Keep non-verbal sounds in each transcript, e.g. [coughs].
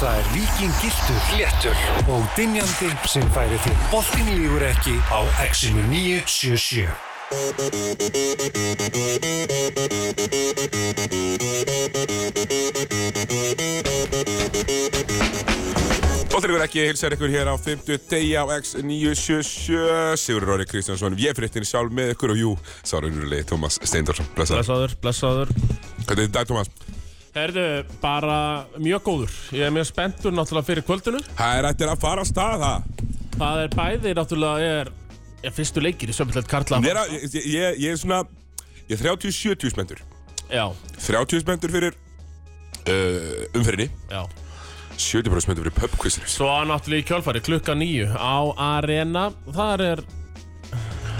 Það er Víking Giltur, Léttur og Dinjandi sem færi þér boltin lígur ekki á Exinu 977. Bóttrikur ekki, hilsar ykkur hér á 50 degi á X977 Sigur Róri Kristjánsson, ég frittin sjálf með ykkur og jú, sárunurlegi Tómas Steindorsson, blessaður Blessaður, blessaður. Hvernig er þetta dag, Tómas? Herðu, bara mjög góður. Ég er mjög spenntur náttúrulega fyrir kvöldinu. Það er eftir að fara á stað það Það er bæði náttúrulega er, er fyrstu leikir í sömulegt Karla. Ég er, að, ég, ég, ég er svona, ég er 30-70 spendur Já, 30 spendur fyrir uh, umferðinni já. 70 bara spendur fyrir pubquizinu Svo að náttúrulega í kjálfæri klukka nýju á Arena. Þar er,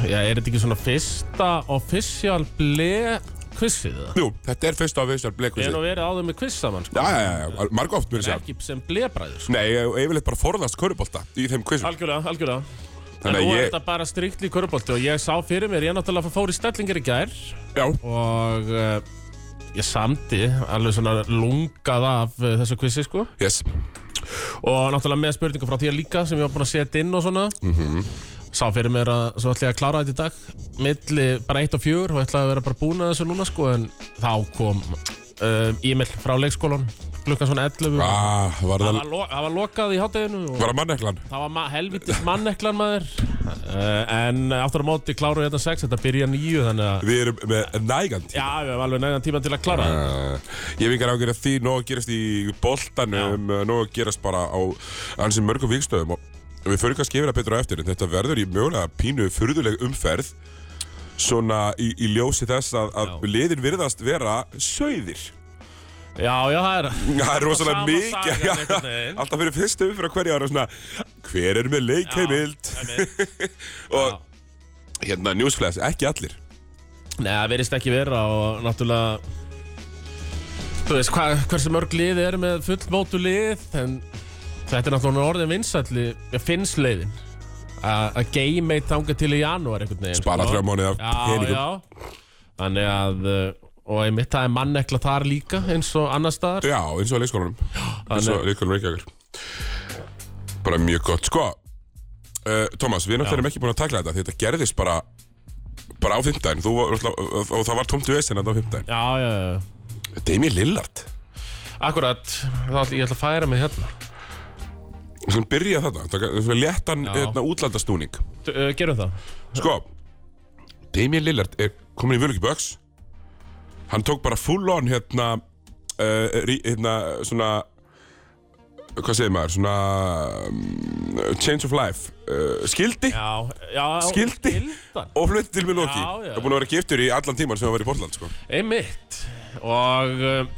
já, er þetta ekki svona fyrsta official ble quizið það? Jú, þetta er fyrsta á viðstjálf Ég er bleikvizinu nú verið áður með quiz saman, sko. Já, já, já, já, marg oft mér að segja Ekki sem blebræður, sko. Nei, ég ég vil eitthvað bara forðast körubólta í þeim quizum Algjörlega, algjörlega. En Þannig nú að er ég, þetta bara striktli í körubólti og ég sá fyrir mér, ég náttúrulega fór í stellingar í gær já, og uh, ég samdi alveg svona lungað af uh, þessu kvissi sko yes og náttúrulega með spurningar frá þér líka sem ég var búinn að setja inn og svona sá fyrir mér að svo ætla ég að klára þetta í dag milli bara 1 og 4 og ætlaði að vera bara búin að þessu núna sko en þá kom uh, e-mail frá leikskólan klukkan svona 11 og Ah, var það það, var, lo það var lokað í hátteginu og var það manneklan? það var ma helvitis manneklan maður uh, en aftur á móti kláru ég þetta 6 þetta byrja 9 þannig að Við erum með nægan tíma. já við hefum alveg nægan tíma til að klára þetta Uh, ég hef engar ágjör af því, nóg að gerast í boltanum, uh, nóg að gerast bara á ansinn mörgum vikstöðum og við förum kannski yfir að betra á eftir en þetta verður í mögulega pínu furðuleg umferð svona í, í ljósi þess að, að Já. liðin virðast vera sauðir. Já, já, það er Það er rosalega sama sagan mikið, einhvern veginn. alltaf fyrir fyrstu umfyrir hverja ára svona, hver er með leikheimild? [laughs] einmitt. og hérna, newsflash, ekki allir. Nei, það verðist ekki vera og náttúrulega Þú veist, hva, hversu mörg lið er með fullmótu lið En þetta er náttúrulega orðin vinsætli Ég finns leiðin Að að game eitt þanga til í janúar einhvern veginn Bara sko. þrjá mánuði af Já, peningum. já Þannig að uh, Og einmitt, það er mannekla þar líka eins og annar staðar Já, eins og að leikskólanum eins og þannig- leikskólanum Reykjavíkur Bara mjög gott, sko uh, Thomas, við náttúrulega erum ekki búin að takla þetta því þetta gerðist bara bara á fimmtæn og það var tómt vesen að á fimmtæn Já, já, já Demi Lillard, Akkurat, þá ætla ég ætla að færa mig hérna sem byrja þetta það er svona léttan Já. hérna, útlandastúning D uh, Gerum það Sko, Demi Lillard er komin í völuki böks hann tók bara full on hérna, uh, rí, hérna svona hvað segir maður, svona um, change of life uh, skildi Já, já Skildi? Skildan og flutti til Milwaukee Já, já. Það er búin að vera giftur í allan tíman sem það var í Portland sko. Einmitt Og um,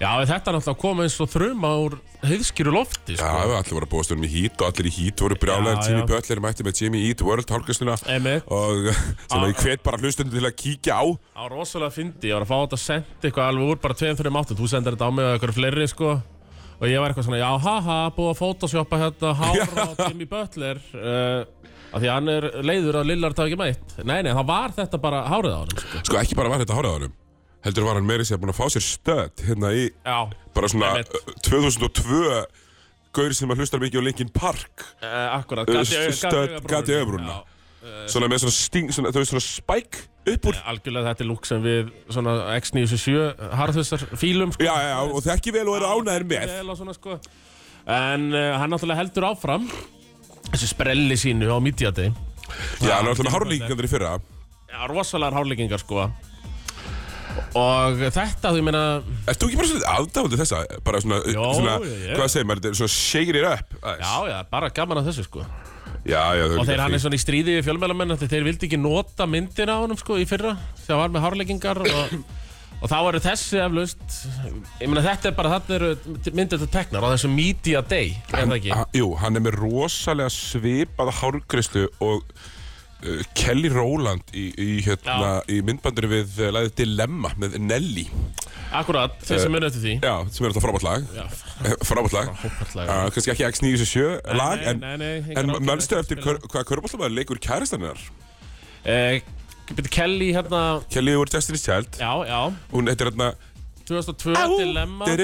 Já, þetta er náttúrulega komið eins og þruma úr heiðskýru lofti Já, sko. við allir voru að búast um í hít og allir í hít voru brjálega Já, Jimmy já. Butler mætti með Jimmy Eat World hálkastuna Einmitt Ah. og [laughs] sem að ég hvet bara hlustundu til að kíkja á Á rosalega fyndi, ég var að fá þetta að senda eitthvað alveg úr bara 2-3 áttum Þú sendir þetta á mig og eitthvað fleiri sko Og ég var eitthvað svona, já haha, búið að photoshoppa hérna Hára á Jimmy Butler uh, af Því að hann er leiður að Lillard hafi ekki mætt Nei, nei, það var þetta bara hárið á hann sko. Sko ekki bara var þetta hárað á hárðaðanum heldur var hann meiri sér búin að fá sér stöð hérna í Já, bara svona Einmitt. uh, 2002 gaur sem að hlustar mikið á Linkin Park uh, akkurat Uh, gat í au- gat í stödd- augabrúnina. gat í augabrúnina. Já. svona með svona sting, svona, þau veist svona spæk upp úr Algjörlega þetta er lúk sem við svona X97 harðhustar fílum sko. Já, já, já, og þekki vel og eru ánæður með vel og svona sko En uh, hann náttúrulega heldur áfram Þessu sprelli sínu á mídjati Já, hann er alltaf með hárlíkingandir í fyrra Já, rosalegar hárlíkingar sko Og þetta, þú meina Ert þú ekki bara svona aðdáðandi þessa? Bara svona, Jó, svona ég er. hvað segir maður, þetta er svona shake it up aðeins. Já, já, bara gaman að þessu sko já, já Og þeir hann er svona í stríði við fjölmælamenn Þeir, þeir vildi ekki nota myndina á honum sko í fyrra Þegar hann var með [coughs] hárlíkingar og, og þá eru þessi eflaust Ég meina þetta er bara, þarna eru myndir þetta teknar Á þessu media day, er það ekki? Ha, jú, hann er með rosalega svipað hárgrislu og uh, Kelly Rowland í, í, hérna, í myndbandur við uh, læðið Dilemma með Nelly Akkurat, þeir sem muni eftir því Já, sem er alltaf frábært lag Eh, Já, Frábært lag frábært lag. Já, Kannski ekki X97 lag nei, En, nei, nei, engar en áhyggjur, mannstu ekki eftir spila. hver, hvað körbóltamæður leikur kæristaninnar Eh, Byrju Kelly hérna Kelly úr Destiny's Child Já, já Hún heitir hérna 2002 Dilemma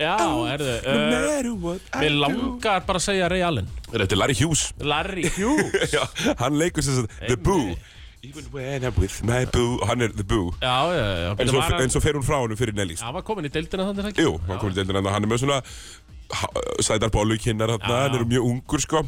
Já, erðu uh, Mér Þetta langar bara að segja Ray Allen er Larry Hughes [laughs] Larry Hughes Já, Hann leikur sem sagt The Boo Even when I'm with my boo Hann er The Boo Já, já, já En býttu, svo, var hann- en svo fer hún frá honum fyrir Nelly sko. Hann var komin í deildina þannig er það ekki? Jú, hann kom í deildina en hann er með svona ha- sætar bollukinnar hann, Já. hann er mjög ungur sko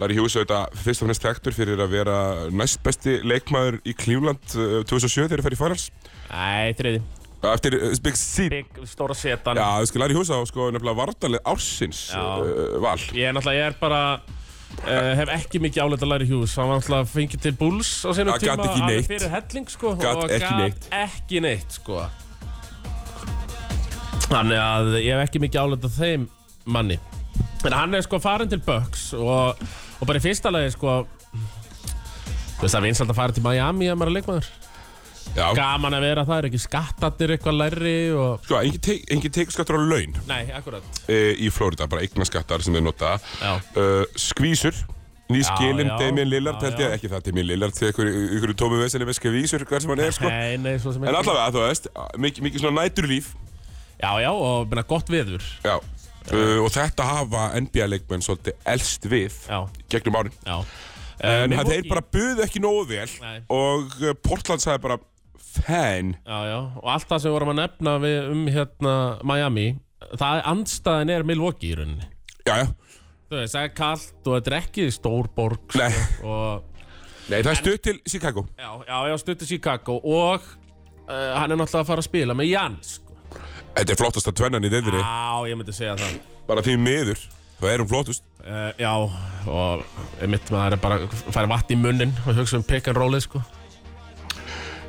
Larry Hughes auðvitað fyrst og fremst þekktur fyrir að vera næst besti leikmaður í Cleveland uh, 2007 þegar það fær í finals Nei, þriði eftir uh, Big C Big, stóra setan Já, þú skil Larry Hughes á sko nefnilega vartalið ársins Já. uh, val Ég er náttúrulega, ég er bara Uh, hef ekki mikið áleit að læra Hughes hann var náttúrulega fengið til Bulls á sínum Það tíma gat ekki alveg neitt. fyrir helling sko Gat og ekki neitt. gat ekki neitt sko þannig að ég hef ekki mikið áleit að þeim manni en hann er sko farin til Bucks og, og bara í fyrsta lagi sko þú veist það er vinsalt að fara til Miami að maður er leikmaður Já, gaman að vera það er ekki skattatir eitthvað læri og sko, engin, te engin teikuskattur á laun nei, [laughs] akkurat uh, í Flórida, bara eignaskattar sem þeir nota Já. uh, Skvísur Nýskilin Já, já. Damien Lillard, Já, held ég, já. ekki það Damien Lillard til ykkur, ykkur tómi vesinni með skvísur hver sem hann er sko nei, nei, svo sem En ekki. allavega, þú veist, mikið, mikið svona næturlíf já, já, og menna, gott veður Já uh, Og þetta hafa NBA-leikmenn svolítið elst við Já. Gegnum árin já En Eh, uh, þeir Milwaukee- bara buðu ekki nógu vel Nei. Og uh, Portland sagði bara Fan Já, já, og allt það sem við vorum að nefna við, um hérna Miami það er andstæðin er Milwaukee í rauninni Já, já Þú veist, það er kallt og þetta er ekki stór borg Nei. sko, og, Nei, það er stutt til Chicago Já, já, já, stuttu Chicago og uh, hann er náttúrulega að fara að spila með Jans sko. Þetta er flottasta tvennan í deildinni Já, ég myndi segja það Bara því miður Það er hún flottust uh, Já, og mitt maður er bara að færa vatn í munnin og hugsa um pick and rollið sko.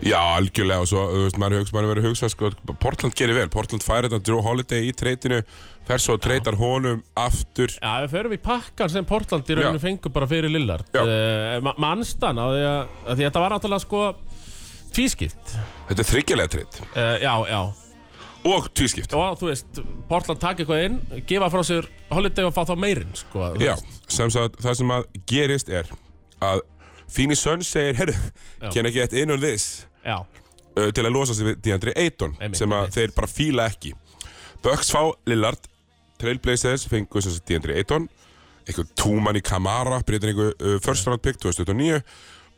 Já, algjörlega og svo, þú veist, maður hugsa, maður verið að hugsa sko, Portland gerir vel, Portland færir þetta Drew Holiday í treytinu, fer svo og treytar honum aftur Já, við förum í pakkan sem Portland í rauninu Já. fengur bara fyrir Lillard Já. uh, Mannstan, af því að, af því að þetta var náttúrulega sko tvískipt Þetta er þryggjalega treyt uh, Já, já og tvískipt og þú veist, Portland taka eitthvað inn gefa frá sér holiday og fá þá meirinn sko, þú Já, veist. sem sagt, það sem að gerist er að Fini Sönn segir, herru, can I get in on this já, uh, til að losa sig við Deandre Ayton Einmitt, sem að einmitt. þeir bara fíla ekki Bucks fá Lillard Trailblazers fengu sem sagt Deandre Ayton einhver túmann í Kamara breytin einhver uh, first round pick 2009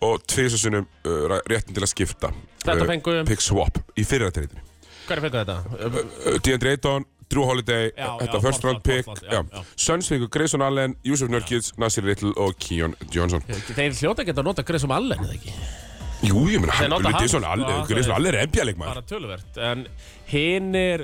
og tviðsessunum uh, ra- réttin til að skipta uh, Þetta fengu- pick swap í fyrirrættirreitinni hverju fengur þetta? uh, Deandre Ayton Drew Holiday, Já, þetta já, first round Portland, pick Portland, já, já. já. Suns fengu Grayson Allen, Yusuf Nurkic, Nasir Little og Keon Johnson Eh, Þeir hljóta ekki að nota greið sem allen eða ekki Jú, ég meina, hann- nota hann, Grayson sko, Allen það Grayson er- Allen er NBA leikmaður bara töluvert en hinn er,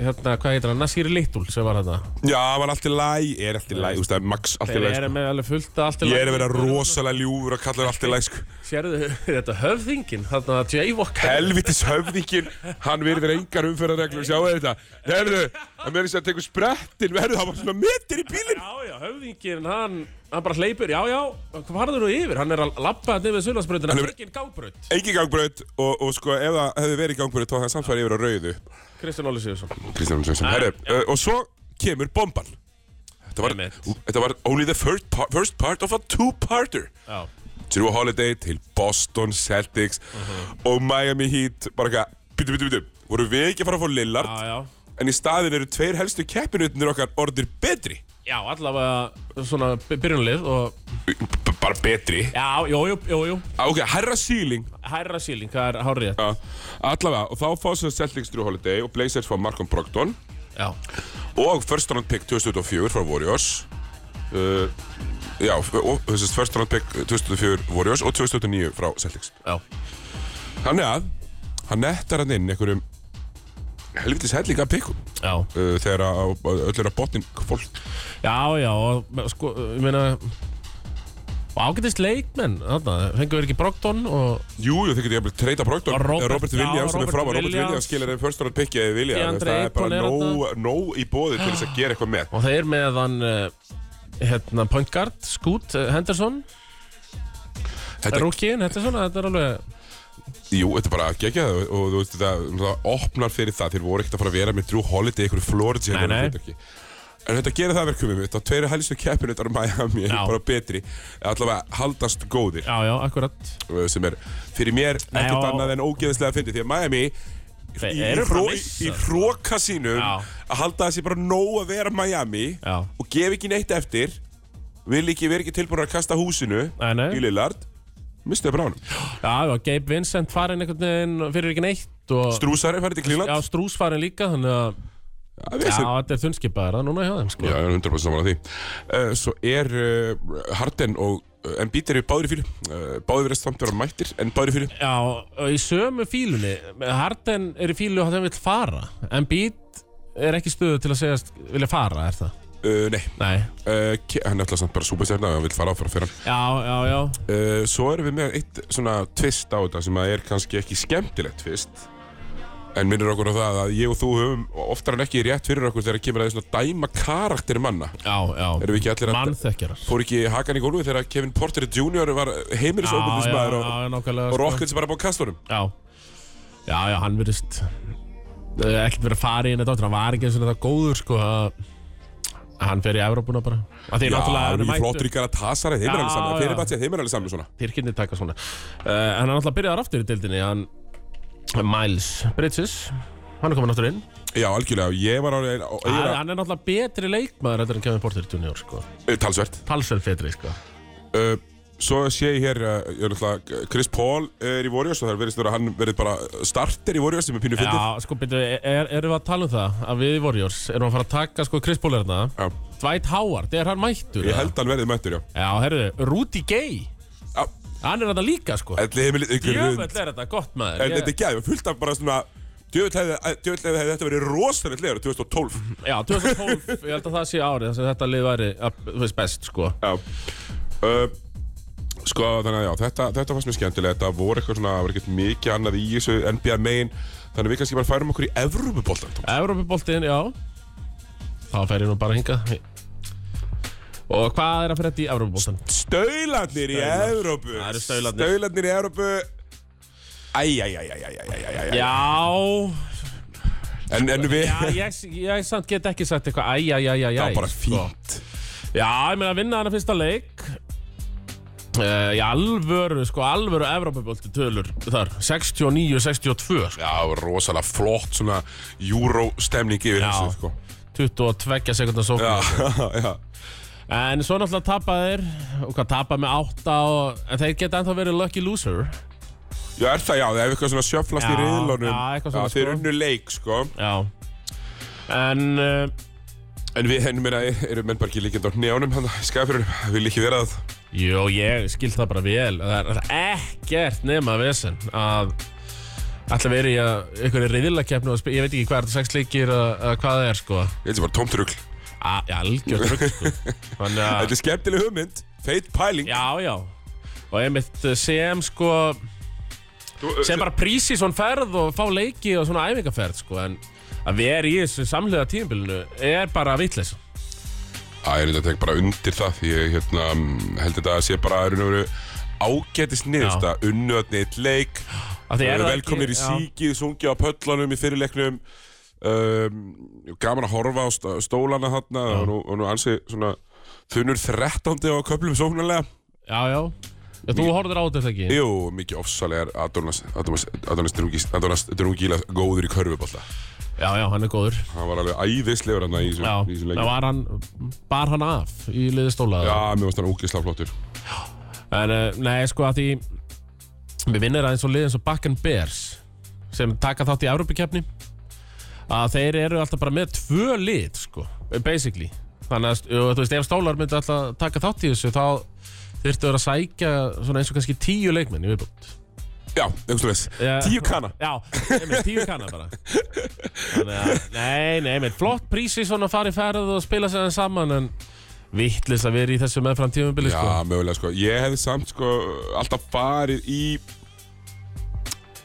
hérna, hvað heitir hann Nasir Littul sem var þetta Já, það var allt í læg, er allt í læg, þú veist, það er max allt í þeir læg, eru sko. með alveg fullt af allt í Ég lagi. er að vera rosalega ljúfur að kalla það allt í læg, sko. sérðu þetta höfðingin, þarna J-Walk Helvitis höfðingin, hann virðir engar umferðarreglur, sjáu þetta. Herðu, hann verður sér að tekur sprettin, verður það var svona metir í bílinn. Já, já, höfðingin, hann, hann bara hleypur, já, já, hvað farður þú yfir? Hann er að lappa þetta yfir Sölandsbröðina, Hann er- engin gangbröð, Engi gangbröð og, og sko, ef það hefði verið gangbröð, þá hefði hann samt farið yfir á rauðu. Kristján Óli Sigursson. Kristján Jónsson, herðu, uh, og svo kemur bomban. Þetta var, Einmitt. þetta var only the first part, first part of a two-parter. Já. Drew Holiday til Boston Celtics og Miami Heat bara eitthvað, bítu, bítu, bítu voru við ekki að fara að fá Lillard Já, já. en í staðin eru tveir helstu keppinutinir okkar orðir betri Já, allavega svona by- byrjunlið og... B bara betri Já, jú, jú, jú, jú. ah, ok, herra síling Hærra síling, það er hárið þetta. ja, allavega og þá fá sér Celtics Drew Holiday og Blazers fá Markom Brogdon Já. og first round pick 2004 frá Warriors uh, já, og þessist first round pick 2004 Warriors og 2009 frá Celtics Já. Þannig að hann nettar hann inn einhverjum helvitis hellinga pikkum Já. uh, þegar að, að öll er að botnin kvólt. Já, já, og me- sko, ég meina... Og ágætist leikmenn, þarna, fengum við ekki Brogdon og Jú, jú, þið getur jafnvel treyta Brogdon, Og Robert- eh, Robert já, Williams, hann er Robert fram Robert Williams Williams. skilur þeim first round pickið eða vilja, DeAndre það er Ayton bara er nóg, nóg í bóði til þess að gera eitthvað [gasps] með. og þeir með hann, uh, hérna, point guard, Scoot eh, Henderson, Þetta, rúkiðin Henderson, þetta er alveg... jú, þetta er bara geggjað og, og þú veist, það, það opnar fyrir það, þeir voru ekkert að fara að vera með Drew Holiday í einhverju Florida Nei, nei. En þetta gerir það verkum við mitt, þá tveir helstu keppinutar Miami eru Já. bara betri, allavega haldast góðir. Já, já, akkurat. sem er fyrir mér Nei, ekkert og- annað en ógeðislega fyndið því að Miami í, Þeir eru í, bara að hró, missa, í sko. hróka sínum Já. að halda þessi bara nóg að vera Miami Já. og gef ekki neitt eftir vil ekki vera ekki tilbúin að kasta húsinu Nei, nei. í Lillard mistu það bránum Já, og Gabe Vincent farin einhvern veginn fyrir ekki neitt og Strúsari farið til já, Klingland Strús farin líka þannig að já, já, þetta er þunnskipaðar núna hjá þeim sko. Já, ég er 100% saman að því. Uh, svo er uh, Harden og uh, Embiid eru báðir í fílu. Uh, báðir verið samt vera mættir, en báðir í fílu. Já, og í sömu fílunni Harden er í fílu og hann vil fara en Beat er ekki í stöðu til að segjast vilja fara, er það? Uh, nei, Nei, uh, Ke- hann er alltaf samt bara súbastjarna og hann vil fara áfram fyrir hann. já, já, já Uh, svo erum við með eitt svona tvist á þetta sem að er kannski ekki skemmtilegt tvist. En minnir okkur á það að ég og þú höfum oftar en ekki rétt fyrir okkur þegar kemur að því svona dæma karakteri manna. Já, já, Erum við ekki allir að... mannþekkjarar Fór ekki hakan í gólfi þegar Kevin Porter Jr. var heimilisofbundismæður já, og, já, nákvæmlega og sko. Rockets bara búið kastunum. Já, já, já, hann virðist eh, ekkert verið að fara í henni dóttir, hann var ekki eins og þetta góður sko að hann fer í Evrópuna bara að því Já, náttúrulega það hann eru er mjög flottur mættur, í Galatasaray, þeim er Já, alveg saman, já. þeir eru bara þeim er alveg saman svona. Tyrkinni taka svona uh, en hann er náttúrulega byrjaðar aftur í dildinni hann, Miles Bridges hann er komin aftur inn Já, algjörlega, og ég var alveg, og hann, ég hann er náttúrulega betri leikmaður heldur en Kevin Porter Jr. sko er Eh, talsvert. talsverð betri sko Uh, svo sé ég hér, uh, ég er náttúrulega, Chris Paul er í Warriors og það er verið að hann verið bara starter í Warriors sem er pínu fyndið. Já, sko, byrju, er, erum við að tala um það að við í Warriors erum að fara að taka sko Chris Paul hérna Já, Dwight Howard, er hann mættur? ég eða? held hann verið mættur, já. Já, herruðu, Rudy Gay Já, Hann er þetta líka sko ætli heimilið ykkur Jöfell rund. er þetta gott maður En þetta er gæði, fullt af bara svona, djöfull hefði eh, djöfull hefði þetta verið rosalegt leður 2012. Já, 2012, ég held að það sé árið þess að þetta lið væri, að, þú veist, best sko Já. Uh, sko, þannig að já, þetta, þetta fannst mér skemmtilega. Þetta voru eitthvað svona, það var ekkert mikið annað í þessu NBA main. Þannig að við kannski bara færum okkur í Evrópuboltan. Tom. Evrópuboltinn, já Þá fer ég nú bara hinga Og hvað er að frétta í Evrópuboltinn? Staularnir í Staular. Evrópu. Það eru staularnir. Staularnir í Evrópu. Æj, æj, æj, æj, æj, æj, æj, æj. Já, En, en við... já ég, ég samt get ekki sagt eitthvað Æ, æ, æ, æ, æ það var bara sko. fínt. Já, ég meina að vinna hana fyrsta leik uh, Í alvöru, sko, alvöru Evrópubolti tölur þar 69-62 sko. Já, það var rosalega flott svona Euro-stemning yfir Já. þessu, sko. 22 sekundar sókn Já, [laughs] já. En svo náttúrulega tapa þeir og hvað tapa með átta og en þeir geta ennþá verið lucky loser Já, er það, já, það er eitthvað svona sjöflast í Já, riðlunum. já, eitthvað svona, Þeir sko. unnu leik, sko. Já En uh, En við hennum meina, eru menn bara ekki líkjandi á hnjánum hann í skæðfjörunum, vil ekki vera að Jó, ég skil það bara vel Það er ekkert nema vesen að ætla verið í að einhverju riðilakefni og spi- ég veit ekki hvað er þetta sex leikir að, að hvað það er sko Ég held sem bara tómt rugl Þetta að, algjörð rugg sko [laughs] Þannig að er skemmtileg hugmynd, feit pæling Já, já Og einmitt eh, sem sko Þú, sem bara prísi svona ferð og fá leiki og svona æfingaferð sko en að vera í þessu samlega tímabilinu er bara vitleis Æ, ég held að tek bara undir það því ég hérna, mm, held þetta að sé bara að eru ágætist niðursta unnuðatni eitt leik Af því er það velkomnir í ekki- já. síkið, sungið á pöllunum í fyrirleiknum um, gaman að horfa á st- stólana þarna og nú, og nú ansi svona þunur þrettándi á köplum sóknarlega Já, já, já Þú horfður á þetta ekki Jú, mikið ofsalegar Adonis, Adonis, Adonis, Drungis- Adonis Drungíla góður í körfuballa. Já, já, hann er góður Hann var alveg æðislegur hann í þessu- Já, í þessum það leikum. var hann bar hann af í liðistóla Já, mér varst hann ógeðslega flottur. En eh, nei, sko að því við vinnir aðeins og liðin svo Bakken Bears sem taka þátt í Evrópikeppni að þeir eru alltaf bara með tvö lið, sko, basically þannig að, og, þú veist, ef Stólar myndi alltaf taka þátt í þessu, þá þyrftu að vera að sækja svona eins og kannski tíu leikmenn í viðbútt. Já, eitthvað slúðis. Já. Tíu kana. Já, einmitt, tíu kanna bara Þannig að, nei, nei, einmitt flott prísi svona að fara í ferð og spila sér þeim saman en vittlis að vera í þessu meðfram tímubili, sko Já, mögulega sko. Ég hefði samt sko alltaf farið í...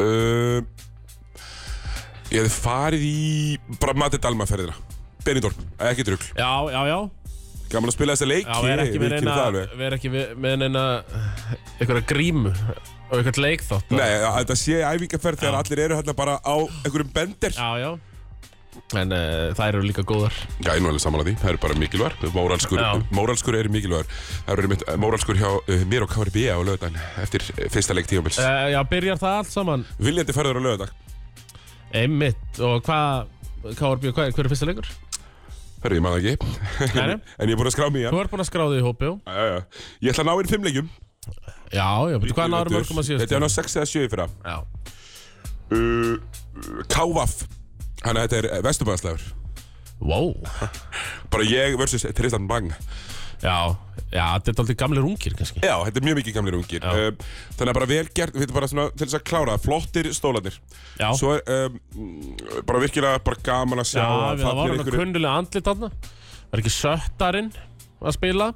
Uh, ég hefði farið í bara Matti Dalma-ferðina. Benidorm, ekki drugl. Já, já, já, Gaman að spila þessa leiki. Já, við erum ekki við með kynum neina það alveg. Við erum ekki við- með neina einhverja grímu og einhvern leikþátt Nei, að þetta sé æfingarferð þegar allir eru hérna bara á einhverjum bender. Já, já En uh, þær eru líka góðar Já, ég er nú alveg saman að því, það eru bara mikilvægar Móralskur, Já. móralskur eru mikilvægar Það eru mitt móralskur hjá uh, mér og KRB á Eh. lögðan eftir uh, fyrsta leik tímabils uh, Já, byrjar það allt saman Viljandi ferður á lögðan Einmitt, og hvað KRB, hvað, hver er fyrsta leikur? Herri, ég maður ekki Nei, nei. [laughs] En ég er búin að skrá mig í hann Þú ert búin að skráði í hópi, já Já, já, já. Ég ætla að ná inn fimm leikjum Já, já, betur hvað Þetta er- náður mörgum að síðast Þetta er ná 6 eða 7 fyrir Já, uh, Kávaf Þannig að þetta er vesturbæðarslegur wow Bara ég versus Tristan Bang Já, já, þetta er aldrei gamlir ungir kannski Já, þetta er mjög mikið gamlir ungir uh, Þannig að bara vel gert, þetta er bara svona til þess að klára það, Flottir stólarnir Já, Svo er um, bara virkilega bara gaman að sjá já að við fallnir það var hann að einhverjir- kunnulega andlit þarna Var ekki söttarinn að spila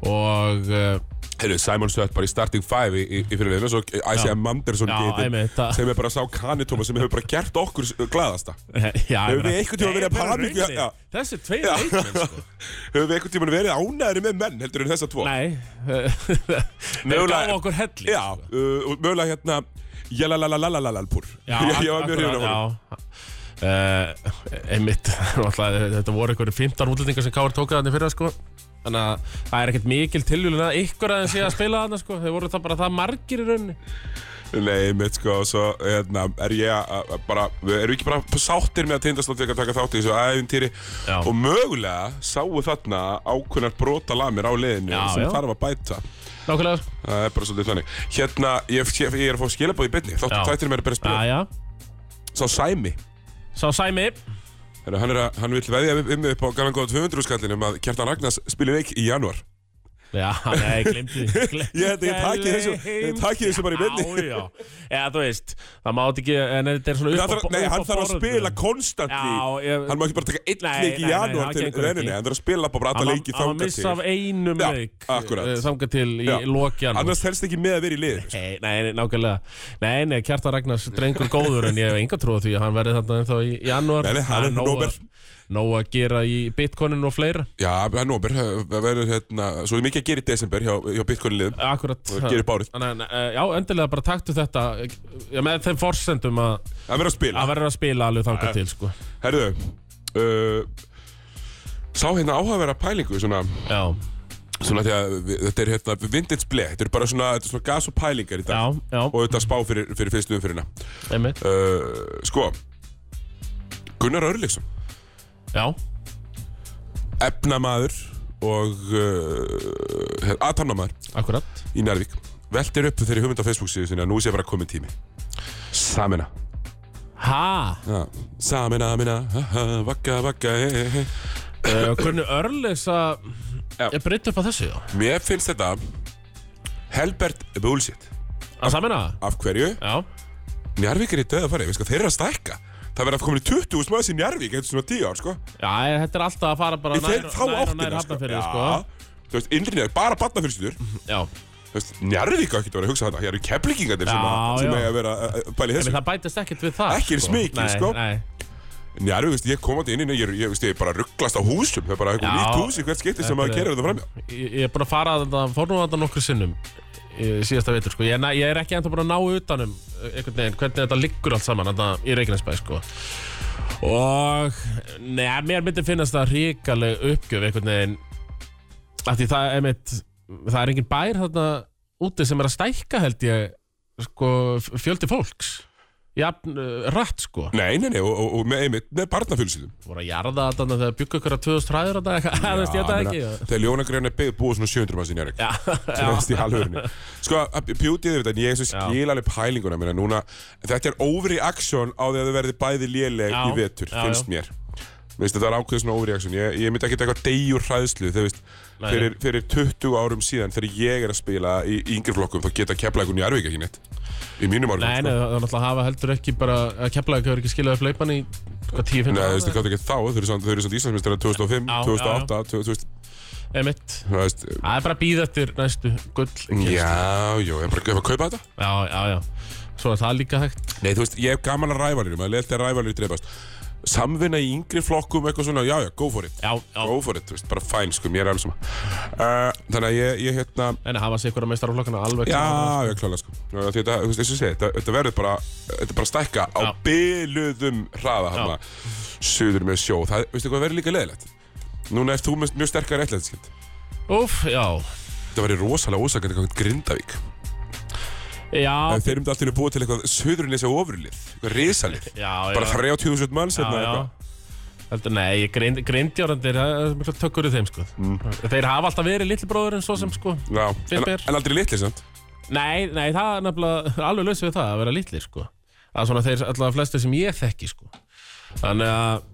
Og uh, Heyrðu, Simon Sött bara í starting five í, í, í fyrirliðinu Svo Isaiah Manderson Já, einmitt, getur það- Sem er bara sá kanitóma sem hefur bara gert okkur s- glaðasta [laughs] Já, Höfum við einhvern tímann verið að hamingju- já. Þessi tveir Já. [laughs] leikmenn sko Höfum við einhvern tímann verið ánæðri með menn heldur en þessa tvo Nei Þeir Mögulega- gáðu okkur helling Já, sko. uh, og mögulega hérna Jalalalalalalpur [laughs] Ég ég var mjög akkurat, hrifin af honum Já uh, Einmitt [laughs] náttúrulega, eh, Þetta voru einhverju 15 útlendingar sem Káur tókaði þannig fyrir sko Þannig að það er ekkert mikil tilvílun að ykkur aðeins sé að spila þarna sko Þeir voru það bara það margir í rauninni Nei, mitt sko, og svo hérna, er ég að að bara, við erum ekki bara sáttir með að tindastótt ekki að taka þátt í þessu æfintýri Já. og mögulega sáu þarna ákveðnar brota lamir á leiðinu Já, sem já. þarf að bæta. Nákvæmlega sko. Það er bara svolítið þannig. Hérna, ég, ég, ég er að fá skilabóð í byrni, þáttu Já. þættir mér að byrja að spila. Jæja Sá Sæmi, Sá Sæmi Heru, hann, er að, hann vil veðja um um mig upp á galan góða 200 skallinum um að Kjartan Ragnars spilir leik í janúar. Já, [laughs] nei, glimti [laughs] Ég held að ég taki þessu- ég taki þessu bara í beinni. Já, já Eða þú veist Það mátt ekki En þetta er svona Nei, upp á hann þarf- bo- Nei, upp á hann þarf að borðinu. spila konstantli. Já, ég Hann má ekki bara taka einn Nei, leik í nei, nei, janúar það til gengur renninu, ekki. hann þarf að spila bara Hann alla var- leiki Hann var þangað missa af einum Já, leik akkurat. eh, Þangað til í Já. lokjan Annars helst ekki með að vera í liðinu. Nei, nei, nei, nákvæmlega Nei, nei, Kjartan Ragnars drengur góður En ég hef enga trú á því að hann verði þarna ennþá í janúar Nei, nei, hann er Nóbel. Nó að gera í bitcoinin og fleira Já, það er nóber, það verður hérna, svo er mikið að gera í desember hjá, hjá Bitcoin-liðum. Akkurat Og gera upp árið. Þannig, að, eh, Já, endilega bara taktu þetta Já, með þeim forsendum að Það verður að spila. Það verður að spila alveg þangað til, sko Herðu, uh, sá hérna áhugaverða pælingu, svona, Já, svona því að við- þetta er hérna vintage blei, þetta er bara svona, þetta er svona gas og pælingar í já, dag. Og já, þetta spá fyrir, fyrir fyrstu umfyrirna. einmitt Uh, sko, Gunnar Örlíksson, Já, efnamaður og uh, aðtamnamaður akkurat í Nærvík. Veltir upp þeirri hugmynd á Facebook síðu sinni að nú sé bara komin tími. Samina. Ha, Já. Samina, mina, ha, ha, vakka, vakka, he, he, he. uh, hvernig örlis að Já. Ég breytta upp á þessu, já Mér finnst þetta Helbert bullshit. Að samina það? Af hverju? Já, Njarvík er í döða farið, við sko, þeir eru að stækka. Það verða komin í 20.000 maður sem Njarvík, eftir svona 10 ár, sko. já, ég- þetta er alltaf að fara bara Í þeir þá nær og nær áttina, sko. hafnafyrir, Já. Þú veist, innrinjar, bara batnafyrstur. sko Já, Þú veist, Njarvík á ekki að vera að hugsa þetta. Það eru keflingingarnir sem, Já, að- sem já. eiga að vera eh, að- að pæli en þessu. það bætist ekkert við það Ekki eins mikið, nei, sko. Nei, Njarvík, veist, ég komandi inn, inn ég, er- ég, veist, ég er bara rugglast á húsum. Það er bara eitthvað Já. nýtt hús í hvert skipti sem að Þetta er- kera þetta framjá. ég, ég er búin að fara að þetta Fór nú að þetta nokkur sinnum í Síðasta veitur, sko Ég, er næ- ég er ekki enda búin að ná utanum eh, Einhvern veginn, hvernig þetta liggur allt saman Þetta í Reykjanesbæ, sko Og, neða, mér myndi finnast það ríkaleg uppgjöf Einhvern veginn af Því það, einmitt, það er engin bær þarna úti sem er að stækka, held ég Sko, f- fjöldi fólks Jafn, eh, rætt, sko Nei, nei, nei, og, og, og með, einmitt, með barnafjölsýðum. voru að jarða þarna þegar byggu ykkur að 2000 ræður þarna [laughs] eitthvað, það veist ég þetta ekki já. Þegar Ljónagrein er byggð búið svona 700 manns í Njarvík. Já, [laughs] Þú veist, í halvörinni. Sko, pjútið við þetta, en ég svo skil alveg pælinguna minna núna. Þetta er overreaction á því að þau verði bæði léleg Já, í vetur, já, finnst mér. Þú veist, þetta er ákveðið svona overreaction. Ég, ég myndi ekki taka degjur hræðslu, þú veist, Nei. fyrir, fyrir 20 árum síðan, þegar ég er að spila í, í yngri flokkum, þá geta keflaðið hún í Arvík ekki neitt. Í mínum sko. árum, Nei, nei, það er náttúrulega að hafa heldur ekki bara að kepla ekki, ekki skiljaði upp leipan í hvað 10-15 Nei, þú veist, það gæti ekki þá, þau eru samt- þau eru samt Íslandsmyndstæðar 2005, Já, já, 2008, 2000, Emitt, þú veist, það er bara að býða eftir næstu gull Já, já, ég er bara að kaupa þetta já, já, já Svo er það líka hægt Nei, þú veist, ég hef gaman að rævalinum, að leðt að rævalinum dreifast Samvinna í yngri flokkum eitthvað svona, já, já, go for it Já, já, Go for it, þú veist, bara fæn, sko, mér er alveg sama uh, Þannig að ég, ég hérna, en að hafa sig ykkur að meistar á flokkana alveg já, klára. já, klálega, sko Því Þetta, þú veist, eins og ég segi, þetta, þetta verður bara, þetta er bara að stækka á Já. byluðum hraða hann Suður með sjó, það, veistu hvað verður líka leðilegt Núna ert þú með mjög sterkar ætlæðiskind Úff, já Þetta verður rosalega ósakandi gangt Grindavík Já, En þeir eru alltaf búið til eitthvað söðurinnleysa ofurlið, eitthvað risalið. já, Bara já. 30.000 manns Já, hérna já. eitthvað. Heldur, nei, grind, grindjárandir, það er mikla tökur í þeim, sko. Mm. Þeir hafa alltaf verið lillibróðurinn svo sem, sko. Já, en, Finnst þér? en aldrei litli, sant? Nei, nei, það er nefnilega [laughs] alveg laus við það að vera litlir, sko. Það er svona þeir allavega flestu sem ég þekki, sko. Þannig að,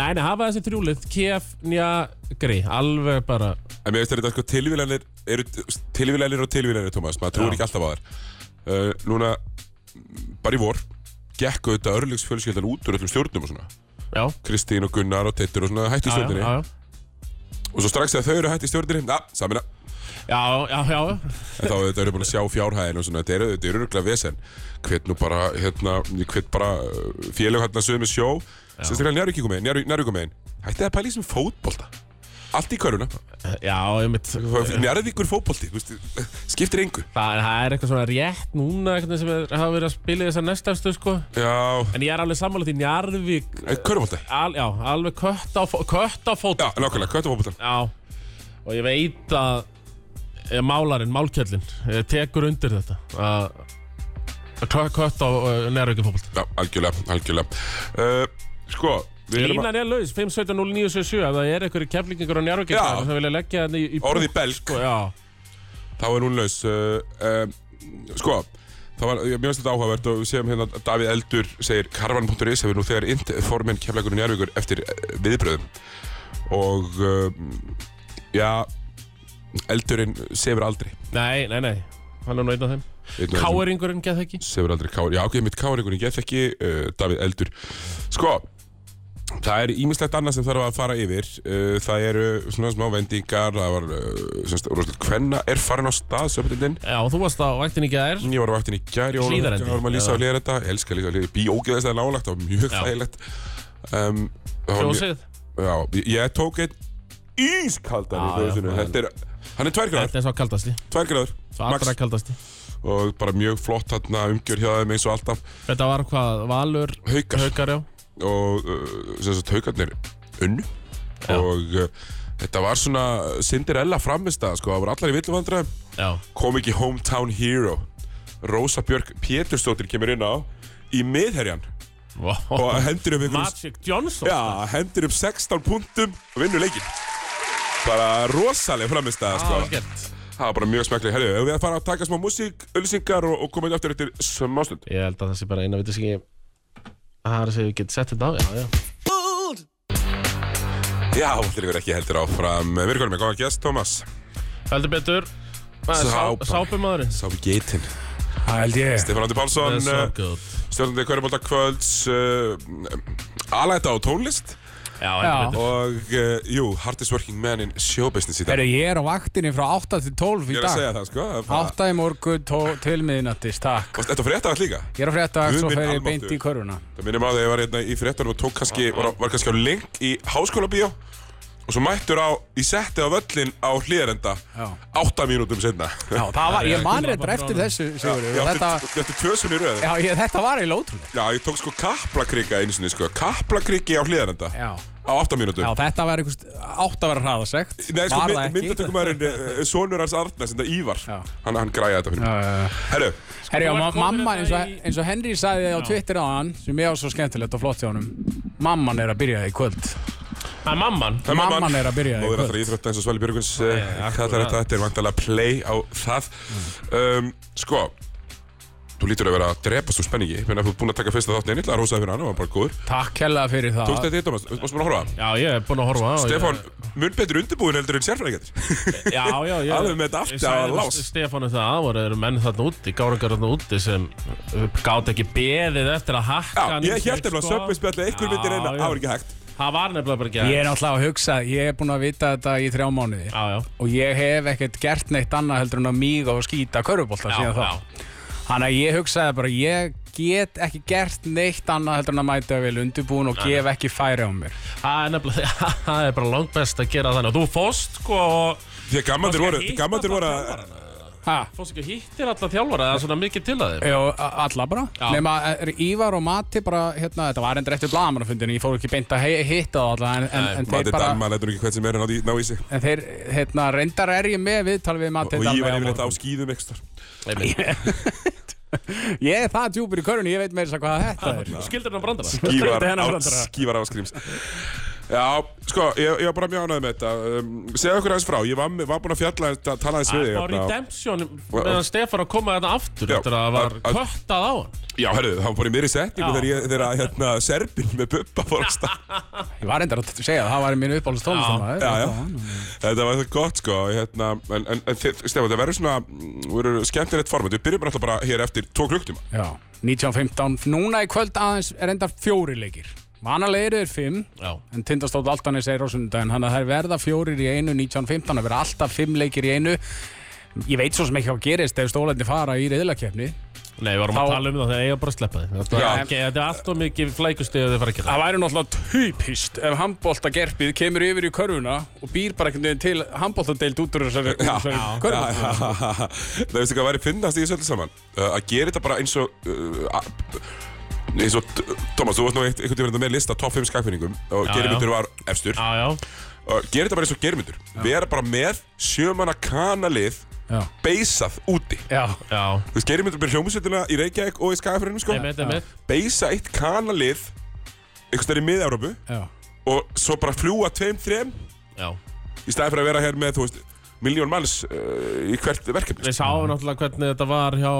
nei, nei, hafa þessi trjúlið, KF, nja, grei, alveg bara, En mér veist að þetta sko tilvílanir, eru tilvílanir og tilvílanir, Tómas, maður trúir Já. ekki alltaf á þær. Uh, núna, mm, bara í vor, gekk auðvitað örlöksfjölskyldan út úr öllum stjórnum og svona. já. Kristín og Gunnar og Tittur og svona hætti í já, stjórninni. Já, já, Og svo strax þegar þau eru hætti í stjórninni, na, samina. já, já, já, En þá auðvitað eru búin að sjá fjárhæðin og svona, þetta eru þetta eru öruglega vesen. Hvet nú bara, hérna, hvet bara uh, félög hérna sögum með sjó, sérstaklega njárvíkumegin, njárvíkumegin. Hætti það pæli sem fótbolta. Allt í köruna. já, já, ég mitt, Njárvíkur fótbolti, þú veist, skiptir engu. það, það er eitthvað svona rétt núna, eitthvað sem er, hafa verið að spila í þessar næstafstu, sko. Já, En ég er alveg sammála því Njarðvík, Körfbólta al, já, alveg kött á, fó- kött á fót, Já, nákvæmlega, köttubólta Já, og ég veit að eh, málarinn, málkjöllin, eh, tekur undir þetta að að kö- kött á eh, nærvikið fólk. Já, algjörlega, algjörlega uh, Sko, við erum að Línan er laus, 517-0977, ef það er einhverju keflingingur á nærvikið Já. sem vilja leggja þetta í, í orðið belg búk, Já, Þá er hún laus uh, uh, Sko, það var, ég- mér finnst þetta áhugavert og við séum hérna að Davíð Eldur segir Karvan.is hefur nú þegar int formin keflækurinn Njárvíkur eftir eh, viðbröðum og uh, já Eldurinn sefur aldrei nei, nei, nei, hann er nú einn af þeim. Einn og þessum- Káeringurinn geð það ekki? Sefur aldrei Kári, já ok, mitt Kárikun, ég þekki uh, Davíð Eldur Sko, það er ímislegt annað sem þarf að fara yfir uh, Það eru svona smá vendingar, það var uh, semst, Róslut Kvenna er farin á stað, söpindin Já, þú varst á vaktin í gær. Ég var á vaktin í gær, ég Hlíðarendi, var um að lýsa já. og hlera þetta Ég elska að lýsa og hlera, bý ógeðast það nálagt, það var mjög Já. þægilegt um, það var mjög- Fjósið. Já, ég- ég tók einn ískaldan í Já, já, fjóðsunu það er- Þetta er, hann er tværgráður, Þetta er svo kaldasti, tværgráður svo allra kaldasti. Og bara mjög flott hérna umgjör hjá þeim eins og alltaf Þetta var hvað, Valur, Haukar. Haukar, já. og uh, sem sagt haugarnir unnu og uh, þetta var svona Cinderella framistað sko, það voru allar í villuvandra Já, kom ekki hometown hero Rósa Björk Pétursdóttir kemur inn á í miðherjan wow. og hendur upp einhverjum Magic Johnson. já, hendur upp 16 punktum og vinnur leikin bara rosaleg framistað sko. Algjört. það var bara mjög smekkleg herri, ef við að fara að taka smá músík, ölsingar og, og koma inn aftur eftir smástund Ég held að það sé bara eina vitið sem ég Það er að segja við getum sett þetta á Já, já já, allir ykkur ekki heldur áfram við erum komin með góðan gest, Thomas Heldur betur Sápa. Sápumadurinn sá við geitin Það held ég Stefán Andi Pálsson uh, stjórnandi Körbólta kvölds uh, alæta á tónlist Já, heldur Ah. betur og uh, jú, hardest working man in show business í dag Herru, ég er á vaktinni frá 8 til 12 í ég er að dag segja það sko það er bara- 8 í morgun tó- til miðnattis, takk Varst- Þetta var fréttavægt líka Ég er á fréttag, Guð svo minn fer ég almáttugur. beint í körfuna Það minnum á því að ég var hérna í fréttanum og tók kannski, Ah, var, var kannski á link í háskóla bíó og svo mættur á, ég setti á völlin á hlýðarenda Já. átta mínútum senna Já, [laughs] það var, ég man rétt bara eftir bráðum. þessu, Sigur Ég átti, Þetta, ég átti tvösun í röð já, ég, þetta var eiginlega ótrúlega Já, ég tók sko kaplakrika einu sinni sko Kaplakriki á hlýðarenda Já, á átta mínútum já þetta var einhvers átt að vera hraðasegt Nei, sko, Var mynd, það ekki. myndatökumæðurinn Sónur eh, hans Arna, sem það Ívar Já. hann, hann græði þetta fyrir Já, mig já, Sko, já. Herru, Herru, já, Þú ert ma- komin hérna mamman, eins og, í- eins og Henry sagði á Twitter á hann sem ég á svo skemmtilegt og flott hjá honum Mamman er að byrja í kvöld Það er mamman það Mamman er að byrja í Móður kvöld. allra íþrótta eins og Svali Björguns eh, Já, já, kallar akkurat. þetta, þetta er vantalega play á það Mm. um, Sko Þú lítur að vera að drepast úr spenningi Menni að þú er búin að taka fyrsta þátt neynil að rosa fyrir hann og hann var bara góður Takk hella fyrir Þú veist það þetta í Thomas, þú varst búin að horfa á það? Já, ég er búinn að horfa á og ég- Stefán, mun betur undirbúin heldur en [laughs] sérfræðingar Já, já, já Alveg með þetta allt að lás. Stefánu það að voru eru menn þarna úti Gárangar þarna úti sem Gátt ekki beðið eftir að hakka Já, ég held sko. eftir að söpmiðspjalli einhver myndir reyna, það var ekki hægt sko. Það var nefnilega bara ekki Ég hægt. er náttúrulega að hugsa, ég er búin að vita þetta í þrjá mánuði Já, já og ég hef ekkert gert neitt annað heldur en að míga og skýta körfubolta Já, síðan já. þá þannig að ég hugsaði bara ég get ekki gert neitt annað heldur en að mæta vel undirbúin og gef ekki færi á mér Það er nefnilega, [laughs] það er bara langbest að gera þannig. Þú fóst, sko, og Því að gamandir Kannski voru, hitta gamandir bara voru að þjálfarana. ha, Fórst ekki að hittir alla þjálfara, það er svona mikið til að þeim. já, a- alla bara Já. nema er Ívar og Mati bara hérna, þetta var endur eftir blagamannafundinu, ég fór ekki beint að he- hitta það alla en, en, en Mati þeir bara Dalma lætur nú ekki hvern sem er að ná í- ná í sig en þeir, hérna, reyndar er ég með viðtal við Mati Og ég Dalma var á yfirleitt á [laughs] morgun. skýðum ekstra Einmitt. Ég er það djúpur í körunni, ég veit meira þess að hvað þetta er Skildur hann að branda það? skífar, Þetta er hennar á, brandara. skífar á skrýms Já, sko, ég, ég var bara mjög ánægð með þetta um, Segðu okkur aðeins frá, ég var, var búinn að fjalla þetta, tala aðeins Ah, við Það var þig hérna. redemption meðan Stefán að koma þetta aftur Já, eftir að það var að- köttað á hann Já, herruðu, það var bara í meiri setningu Já. þegar, ég, þegar að, hérna, Serbin með Bubba fór [laughs] að stað Ég var reyndar að segja það, það var minn uppáhalds Já, já, tónlistamæður þetta var þetta gott, sko hérna, En, en, en þið- Stefán, það verður svona mm, verður skemmtilegt format, við byrjum alltaf bara hér eftir tvo klukktíma Já, 19.15 Núna í kvöld aðeins er reyndar fjóri leikir Vanalega eru þeir fimm Já. En tindastótt Altanis er á sundaginn Þannig að það er verða fjórir í einu 19.15 Það verða alltaf fimm leikir í einu Ég veit svo sem ekki hvað gerist ef stólændi fara í reyðlakefni Nei, við varum Þá- að tala um það þegar eiga bara að sleppa þið Þetta Já. er ekki- þetta er allt og mikið flækustið að þið fara að gera Það væri náttúrulega typist ef handbóltagerpið kemur yfir í körfuna og býr bara einhvern veginn til handbóltadeild út úr þessari þessari Já, körfu. já, já. Það veistu hvað væri finnast í þessu öllu saman uh, Að gera þetta bara eins og uh, að- eins og, uh, Thomas, þú varst nú eitt- einhvern tímann með lista top 5 skakfinningum og Já, Geirmyndur já. var efstur Já, já, og gera þetta bara eins og Geirmyndur vera bara með sjömanna kanalið Já. beisað úti Já. já Þú veist, Geirmyndur byrja hljómsveitina í Reykjavík og í skakfinningum sko Einmitt, einmitt beisa eitt kanalið einhvers þar í mið-Európu Já. og svo bara fljúa tveim, þreim Já í staði fyrir að vera hér með, þú veist, miljón manns uh, í hvert verkefni Við sáum náttúrulega hvernig þetta var hjá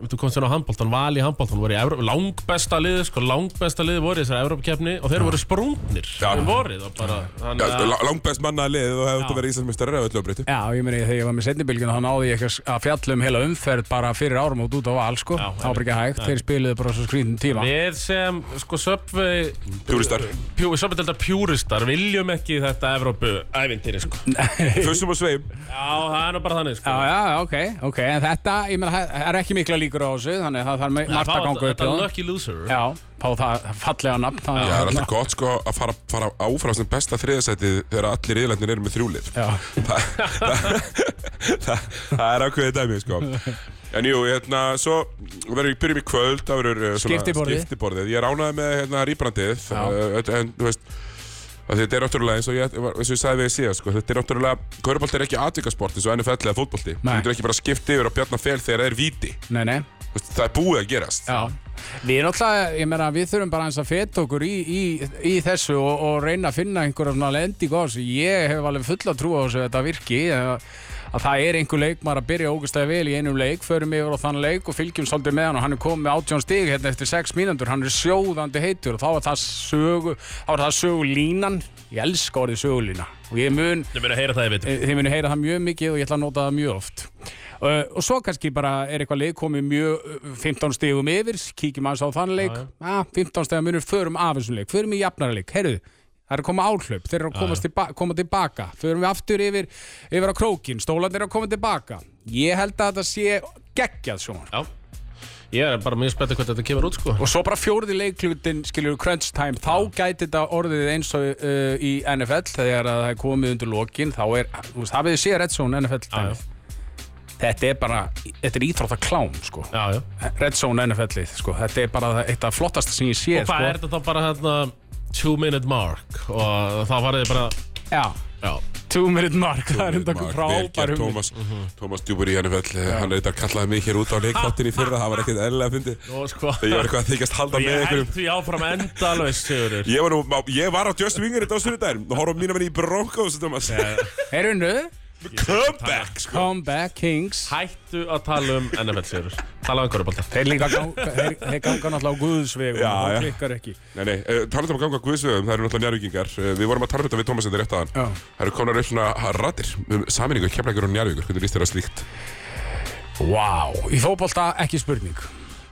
Þú komst hérna á handbóltan, val í handbóltan voru í Evróp, langbesta liði, sko, langbesta liði voru í þessari Evrópakefni og þeir voru sprungnir Já. um vorið og bara, þannig Já, sko, að- la- langbest mannaði liðið og hefði þetta verið Íslandsmeistari eða öllu að breyti. Já, ég meni þegar ég var með setnibilgjuna þá náði ég ekki að s- að fjalla um heila umferð bara fyrir árum út á val sko. Já, Það var bara ekki hægt, þeir spiluðu bara svo skrítin tíma. Við sem, sko, Subway [laughs] Túristar. pjú, Subway-delta pjúristar viljum ekki þetta Evrópu ævintýri, sko Fössum og sveim. Já, það er nú bara þannig, sko Já, já, já, ok, ok, en þetta, ég meina, það er ekki mikla líkur á þessu, þannig að það þarf Já, margt þá að er ganga upp Þetta í er það. lucky loser Já, fá það fallega nafn, þannig Já, það er að... alltaf gott sko að fara, fara áfram sem besta þriðasætið þegar allir yðlendin eru með þrjúlið. Já, Það, það, það, [laughs] það er ákveðið dæmi [laughs] sko. En jú, hérna, svo verður við byrjum í kvöld, það verður uh, svona Skiptiborðið. skiptiborðið. Ég ránaði með hérna rýbrandið, Já. uh, en þú veist, að þetta er náttúrulega eins og ég, var- eins og ég sagði við í síðan sko, þetta er náttúrulega, körubolt er ekki atvikasport eins og NFL eða fótbolti. Þú Nei. getur ekki bara skipt yfir á bjarnafél þegar það er víti. nei, nei, Þú veist, Það er búið að gerast. já. Við náttúrulega, ég meina, við þurfum bara eins að feta okkur í, í, í þessu og, og reyna að finna einhverja svona lending á þessu. Ég hef alveg fulla trú á þessu að þetta virki, að, að það er einhver leikmar að byrja ógustlega vel í einum leik, förum yfir á þann leik og fylgjum svolítið með hann og hann er komið með 18 stig hérna eftir 6 mínútur, hann er sjóðandi heitur og þá er það, sögu, þá er það sögulínan, ég elska orðið sögulína og ég mun Ég meina að heyra það í vitum Eh, Þið munu heyra það mjög mikið og ég ætla að nota það mjög oft. Uh, og svo kannski bara er eitthvað leik komið mjög uh, 15 stegum yfir, kíkjum aðeins á þann leik, Já, ah, 15 stegum munur, förum af þessum leik, förum í jafnara leik, herru, það er að koma áhlaup, þeir eru að komast tilba koma tilbaka, förum við aftur yfir, yfir á krókin, stólarnir eru að koma tilbaka. Ég held að þetta sé geggjað sjónar. Já Ég er bara mjög spenntið hvernig þetta kemur út, sko Og svo bara fjórði leiklutin, skiljur crunch time, þá gæti þetta orðið eins og uh, í NFL, þegar að það er komið undir lokin, þá er, þú veist, hafið þið séð Red Zone NFL Já, dæmið. Þetta er bara, þetta er íþróttaklám, sko. Já, já Red Zone NFL-ið, sko. Þetta er bara það- eitt af flottasta sem ég séð, Og hvað er sko. þetta þá bara hérna Two minute mark Og þá farið þið bara Já, Já two minute mark, það er enda okkur frábær hugmynd. Mhm. Thomas, Thomas Djúbur í henni fell eh, Hann reyndar kallaði mig hér út á leikváttin [laughs] í fyrra Það var ekkert eðlilega fyndi Og sko Þegar ég var eitthvað að þykjast halda með Ég held einhverjum því áfram endalaust, Sigurður Ég var, nú, má- ég var á Justin Winger þetta á sunnudaginn og horfði á mína menni í Broncos Thomas. Heyrðu, Comeback sko. comeback kings. Hættu að tala um NFL, Sigurður Tala um korrupólta Þeir líka ganga, þeir, þeir ganga náttúrulega á guðsvegum, Já, það já. klikkar ekki. [laughs] Nei, nei, uh, talað um að ganga á guðsvegum Það eru náttúrulega njárvíkingar uh, Við vorum að tala um þetta við Thomas þetta rétt aðan Já. Það eru konar upp svona rattir um Saminningu, kemleikur og njárvíkur Hvernig líst þér að slíkt? Vá, í fótbolta ekki spurning.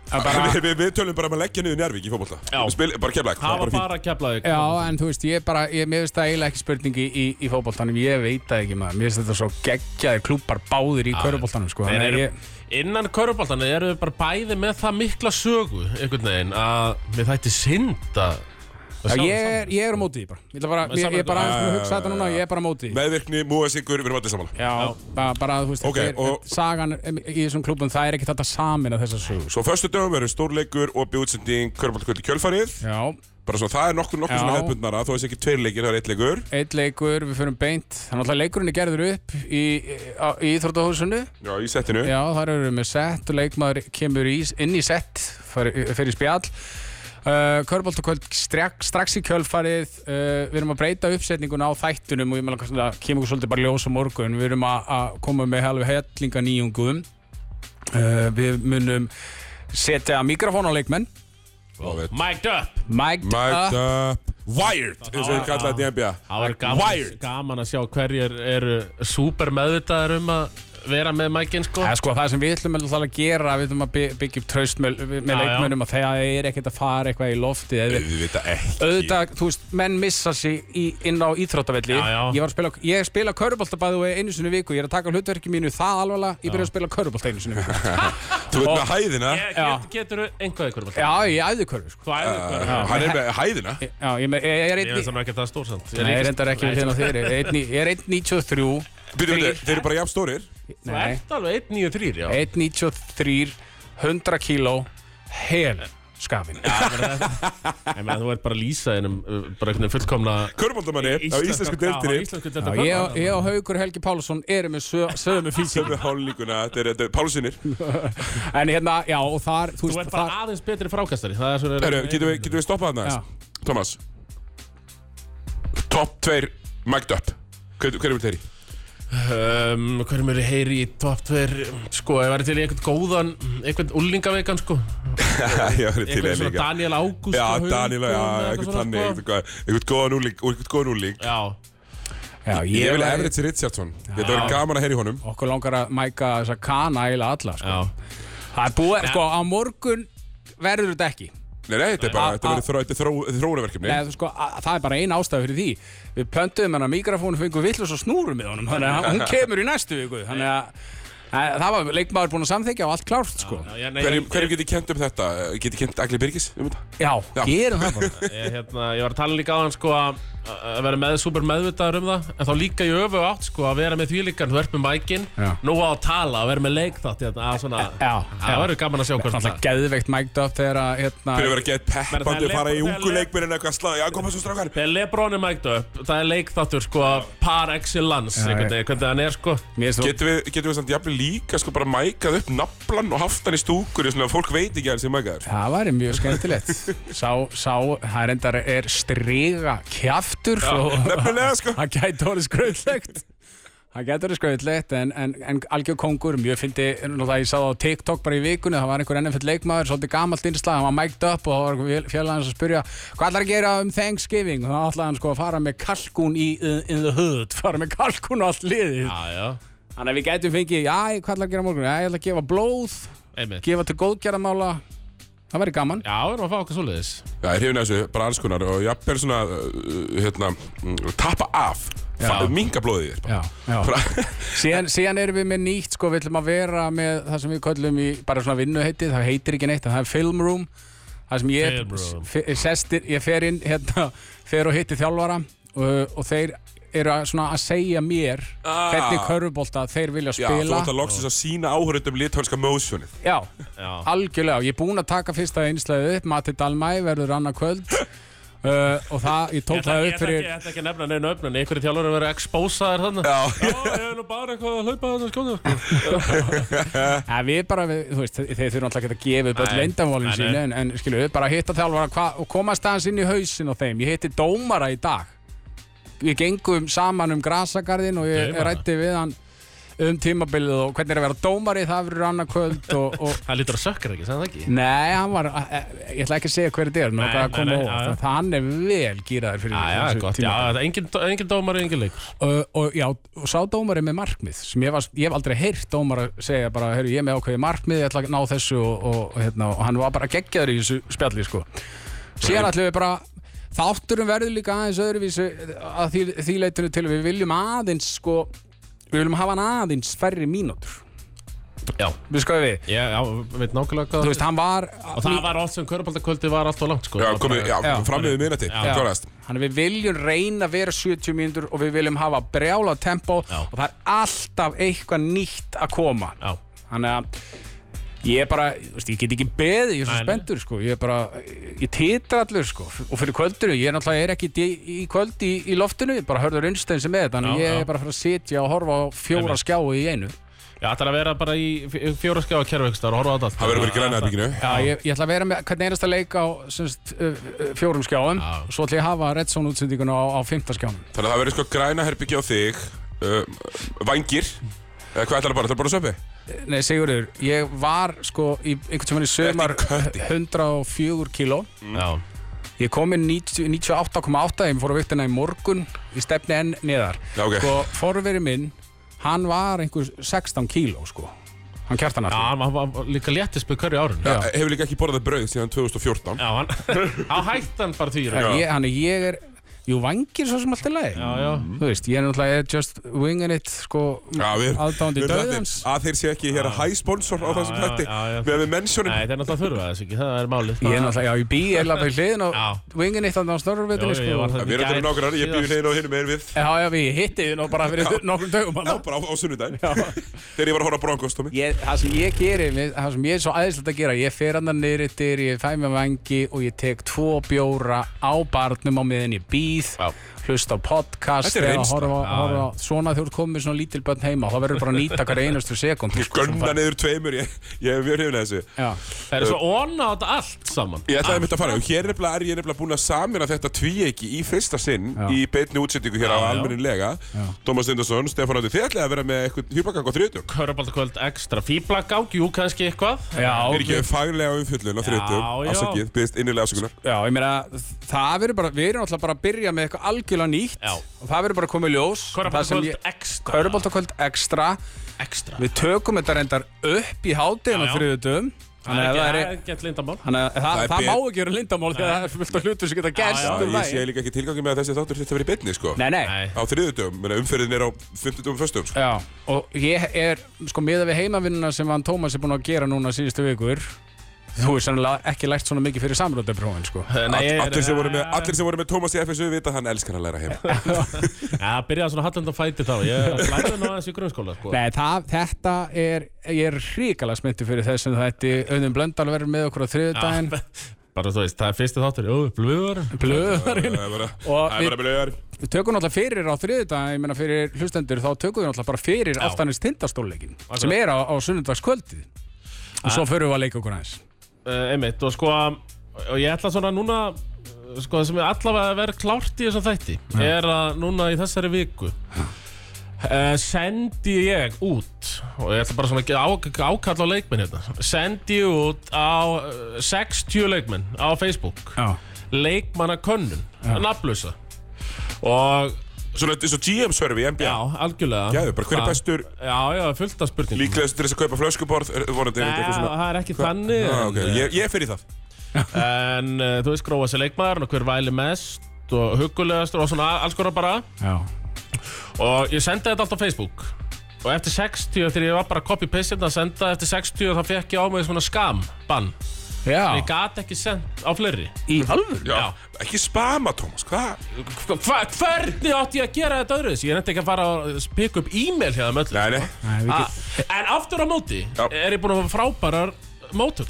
Það er bara- [laughs] við, við tölum bara um að leggja niður njárvík í fótbolta Já. Spil, Bara kemleik, það Það er var bara fínt bara að kepla þig Já, en þú veist, ég bara, ég, mér finnst það eiginlega ekki spurningi í, í fótboltanum, ég veit það ekki maður, mér finnst þetta svo geggjaði klúpar báðir í köruboltanum, sko, Þeir þannig að eru, ég, innan körubóltan eru við bara bæði með það mikla sögu einhvern veginn að við þætti synd að að já, sjá ég, það saman. er, ég er á móti því bara, ég, ætla bara, Með ég, ég er bara samræðu. aðeins með að hugsa þetta núna, ég er bara á móti því. Meðvirkni, múasingur, við erum allir saman Já, bara, bara, þú veist, Ok, okay, er, og- sagan em, í þessum klúpum, það er ekki þetta samin að þessa sögu, sko. Svo á föstu dögum verður stórleikur og bjóðsending Körbáltkvöld í kjölfarið Já, Bara svo, það er nokkur nokkur Já. svona hefbundnara, þó þessi ekki tveir leikir, það er eitt leikur. Eitt leikur, við förum beint Þannig að leikurinn er gerður upp í, á- í Íþróttahúsinu Já, í settinu. Já, þar eru við með sett og leikmaður kemur í, inn í sett fyrir, fyrir spjall uh, Körbólt og kvöld strax, strax í kjölfarið uh, Við erum að breyta uppsetninguna á þættunum og ég meðla að það kemur svolítið bara ljós á morgun Við erum að, að koma með helvi hellinga nýjungum uh, Við munum setja mikrofón á leikmenn Love it. Mic'd up Mægt Mic'd up. Wired, eins og ég kallaði þetta í NBA. Ah. Það var gaman, Wired. gaman að sjá hverjir eru súper meðvitaðar um að vera með mækinn sko Það er sko það sem við ætlum alltaf að gera, við ætlum að by- byggja upp traust með, Já, með já. leikmönnum að það er ekkert að fara eitthvað í loftið. eða- Við vita ekki. Auðvitað, þú veist, menn missa sig í, inn á íþróttavelli. Já, já. Ég var að spila, ég spila körubóltabæðu einu sinni í viku, ég er að taka hlutverki mínu það alvarlega, ég byrja að spila körubólt einu sinni í viku. Þú veit með hæðina. Ég- get, Getur þú einhvað ykkur um það? já, ég æði körfu, sko. Þú æfir ykkur Uh, Hann er með hæðina. Já, ég, me- ég er Ég veist einn, þannig ekki að það er stórsamt nei, ég er endar ekki við hérna þeirri, Ég er einn í- ég er 1.93, Byrju, byrju, þeir eru bara jafn stórir. Þú ert alveg 193 já 1.93, 100 kíló, hel skafin. Ég meina þú ert bara að lýsa einum uh, bara einhvern veginn fullkomna Körbóldamanni á íslensku Já, á deildinni. íslensku Já, deltinni Ég, og- ég og Haugur Helgi Pálsson erum með sö, sömu físík Sömu hálflíkuna, þetta er- þetta er Pálsynir. En hérna, já, og þar, Þú þú veist, ert þar, bara aðeins betri frákastari Það er svona Herru, getum við, getum við stoppað hann aðeins? Thomas Top 2 Mic'd up Hver, hver er við þeirri? um, Hverjum eru heyri í top 2 Sko, ef væri til í einhvern góðan einhvern ullingaveikan sko [laughs] Já, það er til Einhvern eða svona líka Daniel Ágúst Já, og Haukum Daniel, já, eða eitthvað einhvern svona, þannig sko. einhvern góðan- Einhvern góðan úlík Einhvern góðan úlík Já, já, Ég vil að Everett Richardson Þetta verður gaman að heyra í honum Okkur langar að mæka þessa kana eiginlega alla, sko. já Það er búið, sko, á morgun verður þetta ekki. Nei, nei, þetta er bara Þetta verður þró- þetta er þró- þetta er þróunarverkefni Nei, þú sko, að, það er bara ein ástæð fyrir því. Við pöntuðum hennar mikrofónu fengum villus og snúrum með honum, þannig að hún kemur í næstu viku. Þannig að, að það var leikmaður búinn að samþykja og allt klárt, sko. Já, já, nei, Hverjum ég- hverjum getur kent um þetta? Getur kent Agli Birgis um þetta? Já, Já. gerum það bara. ég, hérna, ég var að tala líka á hann sko að að vera með super meðvitaður um það en þá líka ég öfu átt sko að vera með því líka þú ert með mækin, Já. nú á að tala að vera með leikþátt hérna, að svona Já, það verður gaman að sjá hvort Þannig það að geðveikt mækt upp þegar að, hérna, Fyrir að vera gett Menn, það peppandi er og fara í leikmenn- ungu leikminn en eitthvað slá Já, koma svo strákar Þegar Lebron er mækt upp, það er leikþáttur sko par excellence, Já, einhvern já. veginn, hvernig hann er sko mér er svo... Getum við, getum við samt jafnvel líka sko bara mækað upp naflan og haft hann í stúkur svona að fólk veit ekki að hann sé mækaður Það væri mjög skemmtilegt. Sá, sá, það er endar er striga kjaftur og Nefnilega sko það gæti orðið skröðlegt. Það gæti orðið skröðlegt en, en, en algjör kongur, mjög fyndi, náttúrulega ég sá það á TikTok bara í vikunni, það var einhver NFL leikmaður, svolítið gamalt innslag, hann var mækt upp og það var einhver fjallega hans að spurja, hvað ætlar að gera um Thanksgiving? Og þá ætlaði hann sko að fara með kalkún í, in the hood, fara með kalkún á allt liðið. Já, já, Þannig að við gætum fengið, já, hvað ætlar að gera á morgun? Já, ég ætla að gefa blóð, einmitt Já, gefa til góðgerðamála, það væri gaman. við erum að fá okkar svoleiðis Já, ég hrifin að þessu, bara alls konar og jafnvel svona, uh, hérna, mm, tappa af, minga blóðið þér bara. Já, já. Bara- Síðan, síðan erum við með nýtt, sko, við ætlum að vera með það sem við köllum í bara svona vinnuheitið, það heitir ekki neitt, en það er film room, það sem ég, Film room. f- sestir, ég fer inn, hérna, fer og hitti þjálfara og, og þeir eru að, svona að segja mér Ah. hvernig körfubólta þeir vilja Já, þú spila. ætla loksins að um sína áhörðum litónska mósjónið. Já, Já. algjörlega, ég er búinn að taka fyrsta einslæðið upp, Matti Dalmæ verður annað kvöld [laughs] uh, og það, ég Ég tók ætla það ég ætla upp ekki fyrir... ég ætla ekki að nefna neina öfnun, einhverju þjálfur að vera expósaðir þannig Já. Já, ég er nú bara eitthvað að hlaupa sko. þannig skóna Ja, við bara, við, þú veist, þeir þeir þurfa alltaf ekki að gefa upp öll Nei. leyndamálin Nei, nei. sín en, en skilu, við bara hitta þjálfara hva, og komast aðeins inn í hausin á þeim ég hitti dómara í dag við gengum saman um grasagarðin og ég Dómara? rætti við hann um tímabilið og hvernig er að vera dómari það verður annað kvöld og, [laughs] og Það lítur að sökkar ekki, sagði það ekki? Nei, hann var, eh, ég ætla ekki að segja hver þetta er, Nei, náttúrulega að nei, koma nei, óvart, já, já. en það hann er vel gýraður fyrir Já, já, þessu gott, já, tímabili. það er engin, engin dómar, engin leikur Uh, og, já, og sá dómari með markmið sem ég, var, ég hef aldrei heyrt dómara segja bara, heyrðu, ég er með ákveði markmið ég ætla að ná þessu og, og, og, hérna, og hann var bara geggjaður í þessu spjalli sko. síðan ætlum við bara þátturum verður líka aðeins öðruvísu að því, því leitinu til að við viljum aðeins sko, við viljum hafa hann aðeins færri mínútur Já, við skoðum við, ég já, veit nákvæmlega hvað þú veist, hann var Og það var oft sem körbaldakvöldi var alltaf langt sko Já, komið, já, Já. fram við minnati, klárast. Þannig við viljum reyna að vera 70 mínútur og við viljum hafa brjála tempo Já. og það er alltaf eitthvað nýtt að koma Já, Þannig að Ég er bara, þú veist, ég get ekki beðið, ég er svo Nei, nei. spenntur sko, ég er bara, ég titra allur sko og fyrir kvöldinu, ég er náttúrulega er ekki í, í kvöld í, í loftinu, ég bara hörður unnstæðin sem er, þannig Já, að ég já. er bara að fara að sitja og horfa á fjóra Einmitt. skjái í einu. Ég ætla að vera bara í f- fjóra skjá að kerfa ykkur og horfa á þetta allt. Það verður verið græna herbygginu. Já, ég, ég ætla að vera með hvern einasta leik á semst, fjórum skjáum, Já. svo ætla ég að hafa Redson útsendinguna á, á fymta skjáum. Þannig að það verður sko græna herbyggja á þig, um, vængir, eða hvað ætlar það bara? Það er bara söpi? Nei, Sigurður, ég var sko í einhvern tímann í sömar kötti? 104 kíló. Já. Ég kom inn 90 98,8, ég fór á viktina í morgun, í stefni enn neðar. Já, ok. Sko, forveri minn, hann var einhver 16 kíló, sko. Hann kjartan Já, allir. hann var- var var líka léttisbyr hverju árun. Já. Hefur líka ekki borðað brauð síðan 2014. Já, hann, hann hætti hann bara týra. Þannig ég- þannig ég er, jú, vangir svo sem allt er leið. Já, já. Þú veist, ég er náttúrulega just winging it, sko, Mm. Já, við aðdáandi við erum þetta- döðans. Að þeir séu ekki hér að hæ sponsor á þessum já, hætti já, já. Við hefum mensjónum Nei, það er náttúrulega þurfa þess ekki, það er málið. Ég er náttúrulega, já, ég bý eiginlega bara í hliðin og Já. wingin eitt þannig á snorruvitunni, Jú, jú, ég var sko. það. Við erum þetta nákvæmur, ég býði hreinu og hinum er við Já, já, við hittið þið nú bara fyrir nokkrum dögum Já, hann. bara á, á sunnudaginn Þegar ég var að horfa á Broncos, Tómi Ég, það sem ég gerir, mér- það sem ég er svo aðeinslega að gera, ég fer hann að nýrittir, ég fæ mér vangi og ég tek tvo bjóra á barnum á miðin í bíð, Já. hlusta á podcast Þetta er eða reynsla. horfa, horfa svona þegar þú ert komið svona lítil börn heima, þá verður bara að nýta hverja einustu sko. sekund. Ég gönna niður tveimur, ég, ég hef mjög hrifin að þessu Já, Það er svo onna á þetta allt saman. Ég ætlaði mitt að fara, og hér nefnilega er ég nefnilega búin að samina þetta tvíegi í fyrsta sinn Já. í beinni útsettingu hér á almenninlega Tómas Lindarsson, Stefán Átti, þið ætlaði að vera með eitthvað hýrbagang á þriðtug Körbaldakvöld ekstra fýblagang, jú, kannski eitthvað. Er já, ekki faglega umfjöllun á Já, Sko, þriðtug já. Afsakið, byggðist innilega afsökunar já, ég meina, það verður bara, við erum alltaf bara að byrja með eitthvað algjörlega nýtt Já. og það verður bara að koma í ljós. Það sem Körbaldakvöld ég- ekstra. Körbóltakvöld ekstra ekstra. Við tökum þetta reyndar upp í hátinn Já, og já. þriðutum Það Þannig að það er er ekki gett lindamál. Þannig að það, Það það, er bet- má ekki vera lindamál því að það er fullt af hlutum sem geta gerst já. Já, um Ég sé daginn. líka ekki tilgangi með að þessi þáttur þetta verið beinni, sko Nei, nei, Nei. Á þriðtugum, umferðin er á sko. 50 og 1. Já, og ég er, sko, miða við heimavinnuna sem hann Tómas er búinn að gera núna síðustu vikur Þú er sennilega ekki lært svona mikið fyrir samröndabrófin, sko Nei, ég er- Allir sem voru með, allir sem voru með Tómas í FSU vita að hann elskar að læra heima [laughs] Já, það byrjaði svona hallend að fæti þá. Ég læriði nú aðeins í grunnskóla, sko. Nei, það, þetta er, ég er hrikalega smittu fyrir þess sem þetta auðvitað blöndal verður með okkur á þriðudaginn Bara þú veist, það er fyrsti þáttur, jú, blöður. [laughs] Blöðurinn Það er bara- Og það er bara blöðar Við tökum náttúrulega fyrir á þriðdag, ég meina fyrir hlustendur, þá tökum við náttúrulega bara fyrir aftanins tindastólleikin sem er á, á sunnundagskvöldið og svo förum við að leika okkur aðeins. Uh, einmitt, og sko, og ég ætla svona núna, uh, sko, það sem er allavega að vera klárt í þessum þætti, er að núna í þessari viku, uh, sendi ég út, og ég ætla bara svona að gera á- ákall á leikmenn hérna, sendi ég út á uh, 60 leikmenn á Facebook, Já. leikmannakönnun, nafnlösa, og Svona eins og GM-sörfi í NBA já, algjörlega. Gæðu bara, hver er Það- bestur Já, já, fullt af spurningum. líklegast til þess að kaupa flöskuborð er- vonandi er Nei, þetta eitthvað svona það er ekki þannig Já, en, ok, ég, ég fer í það En uh, þú veist gróa sér leikmaður og hver væli mest og hugulegast og svona alls konar bara Já. og ég sendi þetta allt á Facebook og eftir 60, eftir ég var bara að copy-paste þetta að senda eftir 60 þá fekk ég á mig svona skam bann, ég Já. gat ekki sendt á fleiri Í alvöru? Já, ekki spama, Tómas, hvað? Hva, Hvernig átti ég að gera þetta öðruðs? Ég nefndi ekki að fara að spika upp e-mail hérna með öllu Nei, nei, Nei, við A, getum. Ah, En aftur á móti Já. er ég búinn að fá frábærar mótur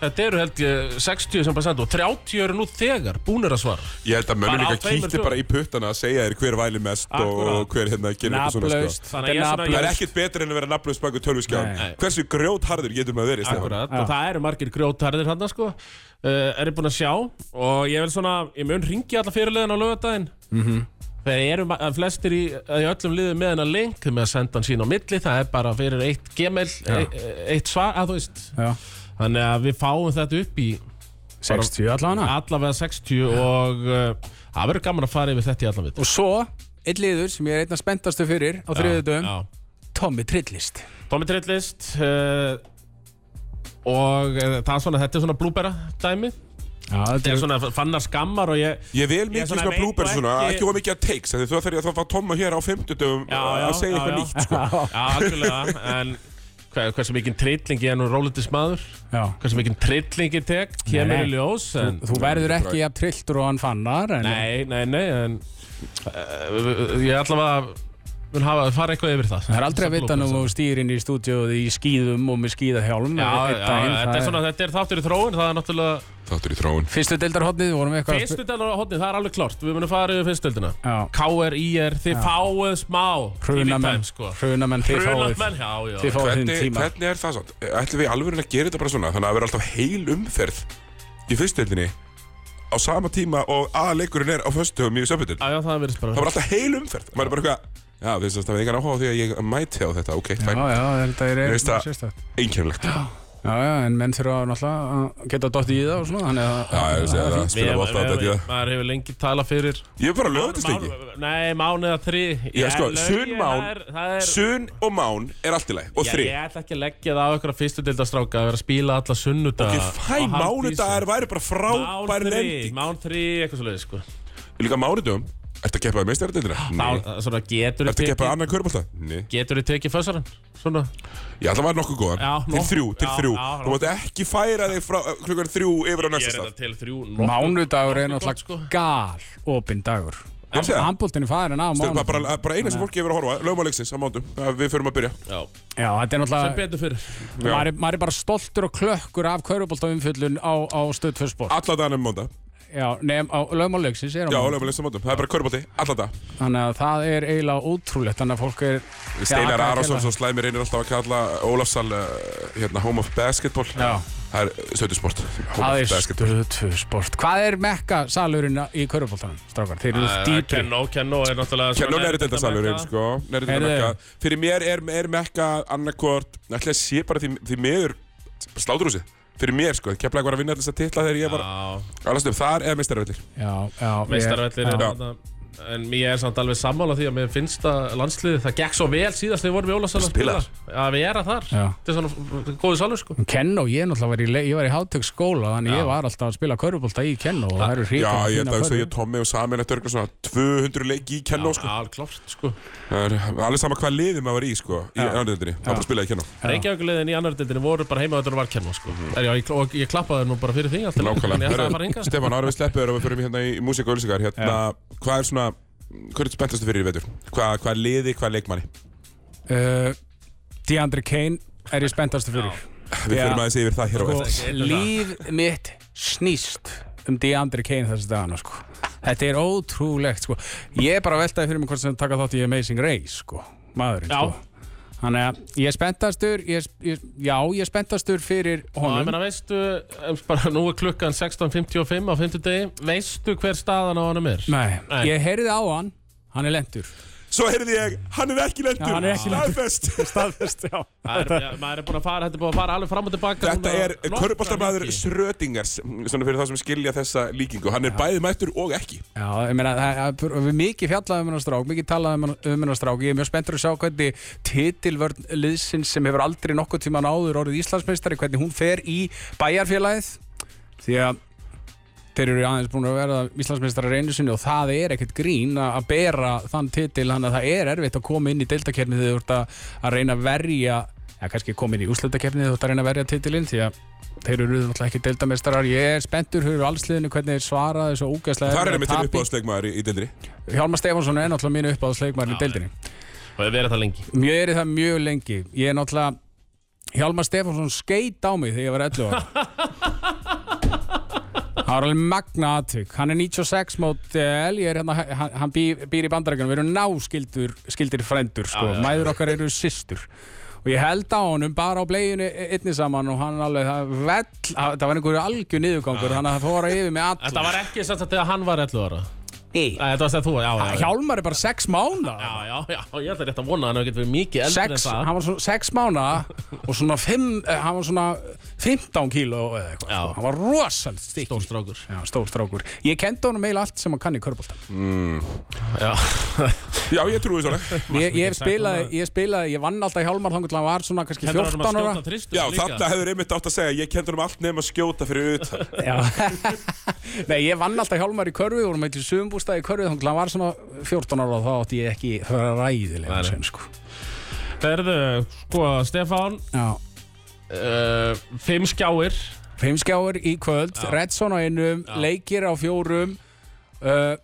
Þetta eru held ég 60 sem bara sendu og 30 eru nú þegar búnir að svara ég held að mönnum Bara á ekki tveimur kýtti bara í puttana að segja þér hver væli mest Akkúrat. og hver hérna gerir eitthvað svona Nafnlaust. sko. Þannig að ég Þetta er er svona- Það nafnlaust. er ekkert betur en að vera nafnlaust baku Nei. tölvískján Hversu grjótharður getur maður verið, Stefán? Akkurat, og það eru margir grjótarðir hann sko. uh, er ég búinn að sjá og ég vil svona, ég mun ringja alla fyrirliðin á lögadaginn mm -hmm. þegar eru ma- að flestir í, að í öllum liðum með hennar link með að senda hann sín á milli, það er bara fyrir eitt gmail, eitt, eh, eitt svar að þú veist, Já. þannig að við fáum þetta upp í 60 allavega. allavega 60 og uh, það verður gaman að fara yfir þetta í allan við Og svo, einn liður sem ég er einna spenntastu fyrir á þriðudagum, Tommy Trillist. Tommy Trillist uh, og uh, það er svona, þetta er svona blúbera dæmi Já, þetta er svona fannar skammar og ég Ég vel Ég mikið svona svona veit blúber og svona, ekki- ekki of mikið að takes af því Þú þarf ég að fá Tomma hér á 50 Já, já, að segja já, eitthvað já. nýtt, sko Já, algjörlega, en hver, hversu mikinn trilling ég er nú rólitis maður Já. hversu mikinn trilling ég tek Nei, kemur nei. í ljós en, Þú verður ekki jafn trilltur og hann fannar, en Nei, nei, nei en, uh, ég ætla að eh, mun hafa að fara eitthvað yfir það Það er aldrei að vita nú um þú stýr inn í stúdíóð í skýðum og með skýðahjálm Já, já, einn daginn, þetta það er svona, þetta er þáttur í þróun, það er náttúrulega Þáttur í þróun Fyrstu deildarhotnið vorum við eitthvað að Fyrstu deildar á hodni, það er alveg klart, við munum fara yfir fyrstu deildina Já. KR, IR, þið fáið smá Hrunamenn, sko. hrunamenn, þið fáið Hrunamenn, já, já Þið fáið þinn hvernig, tíma hvernig er það samt? Ætlum við alveg að gera þetta bara svona Þannig að það verður alltaf heil umferð Í fyrstdeildinni Á sama tíma og aðleikurinn er á föstudöfum í söpudel Já, já, það verðist bara Það var alltaf heil umferð Maður er bara eitthvað Já, þú veist það er engan áhuga á því að ég mæti á þetta Ok, Já, fæn, já, þetta er Ég veist eitthvað að- sérstætt einkennilegt Já, Já, já, en menn þurfa náttúrulega að geta dottið í það og svona Þannig að ég veist það spila Við- bótt á þetta við- já. Maður hefur lengi talað fyrir Ég er bara lögðist ekki Mál- Nei, mánu eða þri Já, sko, sun, mán, Það er Sun og Mán er allt í lagi Og Já, þri Ég ætla ekki að leggja það á ykkur að fyrstu deildastráka að vera að spila alla sunnudaga Ekki fæn, mánudagar væri bara frábær Mán þrý, lending mán þrý, eitthvað svolítið sko Líka mánudöfum Ertu að keppa í meistaradeildina? Nei Þá, svona, getur Ertu að keppa annan körbólta? Nei Getur þið tekið fössarann? Svona Já, það var nokkuð góðan. Já, til nokkuð- þrjú, til já, þrjú. já, Þú mátt ekki færa þig frá uh, klukkan þrjú yfir á Ég næsta er stað. þetta til þrjú Mánudagur er Nokkuð gott, sko. náttúrulega gal opinn dagur Ég sé það. Handbóltinn er farin af Það er mánudag bara, eh, bara eina sem fólk hefur að horfa, lögmáleiksins á mándum. Við förum að byrja. Já, Já, þetta er sem náttúrulega betur fyrir maður er, maður er bara stoltur og klökkur af kaurubóltaumfyllun á, á stöð fyrir sport Alla dagann um mánda. Já, nefn á lögmáleiksins er á Já, mánudag. lögmáleiksins á mándum. Það er bara körbóti, alla dag. Þannig að það er eiginlega ótrúlegt Þannig að fólk er Já, Steinar hvað er Arason, að svo slæmi reynir alltaf að kalla Ólafsal, uh, hérna, home of basketball. Já. Það er stöðusport. Það er stöðtu sport Hvað er mekka salurinn í körfuboltanum, strákar? Þeir eru dýpri Kenno, Kenno er náttúrulega Hérna, hérna. Nú er þetta salurinn, sko. Nærri þetta Heyrðu. mekka. Fyrir mér er, er mekka annarkvort, ætla að sé bara því, því miður sláturhúsið. Fyrir mér, sko. Keflaði var að vinna alltaf titla þegar ég var Já, Allast upp, þar eða meistarvellir Já, já ég- meistarvellir er já. þarna. En mér er samt alveg sammála því að mér finnst að landsliðið, það gekk svo vel síðast þegar við vorum við Ólasal að spila Spilar. að við erum þar, Já. þetta er svona góðu salur sko Kenno, ég náttúrulega var í, le- ég var í hátöksskóla Þannig ég var alltaf að spila körfubolta í Kenno Og það eru Já, hrikar ég held að segja Tommi og Samin Þetta er eitthvað svona 200 leik í kennó sko. Alklart sko Það er alveg sama hvað liði maður var í sko, Í annaðildinni, það var bara að spila í kennó Reykjavíkulegðin í annar deildinni voru bara heimaðutur og varkennu sko. Er, já, ég, og ég klappaði nú bara fyrir því allt í lagi. En ég ætlaði Mhm. að fara Nákvæmlega hingað. Herru, Stefán, ára við sleppum þér og við förum hérna í músík og ölsingar hérna, Hvað er svona Hvað er spenntastu fyrir í vetur? Hvað, hvað er liði, hvað er leikmanni? uh, DeAndre Kane er ég spenntastu fyrir Við Já. förum aðeins yfir það hér á eftir sko, Líf mitt snýst um DeAndre Kane þessi dagana sko. Þetta er ótrúlegt sko. Ég er bara að veltaði fyrir mig hvort sem taka þátt í Amazing Race sko. maðurinn Já. sko. Þannig að ég er spenntastur ég, ég, Já, ég er spenntastur fyrir Já, ég honum meina, veistu, em, bara, nú er klukkan 16.55 á 50 Veistu hver staðan á honum er? Nei, Nei. ég heyrði á hann Hann er lendur Svo heyrði ég, hann er ekki lendur Já, hann er ekki lentur. Staðfest. Staðfest, já Það er, ja, maður er búin að fara, þetta er búin að fara alveg fram og tilbaka Þetta núna er nokkra körpaltamæður leiki. Srödingars Svona fyrir það sem skilja þessa líkingu Hann er bæði mættur og ekki Já, ég meina, það- það- við mikið fjallaðum hennar strák, mikið talaðum um hennar strák ég er mjög spenntur að sjá hvernig titilvörn liðsins sem hefur aldrei nokkuð tíman áður orðið Íslandsmeistari, hvernig hún fer í bæjarfélagið því að þeir eru aðeins búin að vera Íslandsmeistari reynu sinni og það er ekkert grín að að bera þann titil, þannig að það er erfitt að koma inn í deildakerni þegar þú ert að, að reyna að verja Já, kannski koma inn í úslutakeppni þegar þú ert að reyna að verja titilinn því að þeir eru náttúrulega ekki deildameistarar. Ég er spenntur fyrir allsliðinu hvernig þeir svara þessu ógæslega Það er erfiða einmitt tapi. uppáðsleikmaður í, í deildri Hjálmar Stefánsson er náttúrulega mínu uppáðsleikmæri í deildinni. Og ég verið það lengi Mjög er það mjög lengi. Ég er náttúrulega Hjálmar Stefánsson skeit á mig þegar ég var 11 ára. Það var alveg magna aðtök. Hann er 96 mótel, ég er hérna, hann, hann býr, býr í bandarækjunum. Við erum náskildur skildir frendur, sko. Mæður okkar eru systur. Og ég held á honum bara á bleginu einni saman og hann alveg, það, vell, það var einhverju algjör niðurgangur, þannig að það fór að yfir með alla. Þetta var ekki sem sagt þegar hann var 11 ára Nei. Nei, Þetta var sem þú, já, já, já Hjálmar er bara 6 mánuða. Já, já, já, ég ætla rétt að vona að hann hefur getið verið mikið eldri en sex, það hann var svona sex [laughs] mána og svona fimm, eh, hann var svona 15 kíló eða eitthvað, Já. sko. hann var rosalt stík Stór strákur Já, stór strákur. Ég kendi honum eiginlega allt sem hann kann í körbólta. [laughs] Já, Já, ég trúi svona Ég, ég, sex spilaði, ég spilaði, ég vann alltaf Hjálmar þangur til hann var svona kannski Kenndi honum að 14 ára. skjóta þristur Já, líka. þarna hefur einmitt átt að segja Ég kendur um allt nefn að skjóta fyrir utan Já. [laughs] Nei, ég vann alltaf Hjálmar í körfi, vorum eitthvað sumbústaði í körfi þangur til hann var svona 14 ára og þá átti ég ekki það var ræðilega Nei, nei. sem sko. Herðu, sko, Stefán Já. uh, Fimm skjáir Fimmskjáur í kvöld, Redson á einum, leikir á fjórum uh,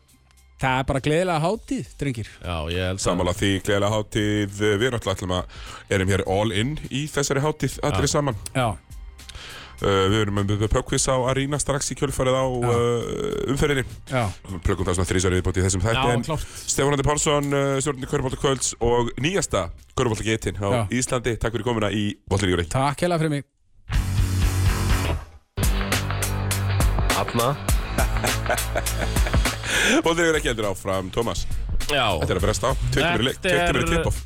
Það er bara gleðilega hátíð, drengir. Já, ég held að- Samanlega því gleðilega hátíð Eh, Við erum alltaf ætlum að erum hér all in í þessari hátíð allir saman Já. uh, Við erum með pökkvís á Arína strax í kjölfarið á uh, umferðinni Já. Plökkum það svona þrísari viðbóti í þessum Já, þætti en klárt. Stefán Andi Pálsson, uh, stjórnir Körbólta Kvölds og nýjasta Körbólta Getin á Já. Íslandi Takk fyrir komuna í Bóttiríkjúri Takk hella fyrir mig. Hafna Bóttiríkjúri ekki heldur áfram, Tómas Já, Þetta er að bresta á, tveitum Þetta er- verið tip-off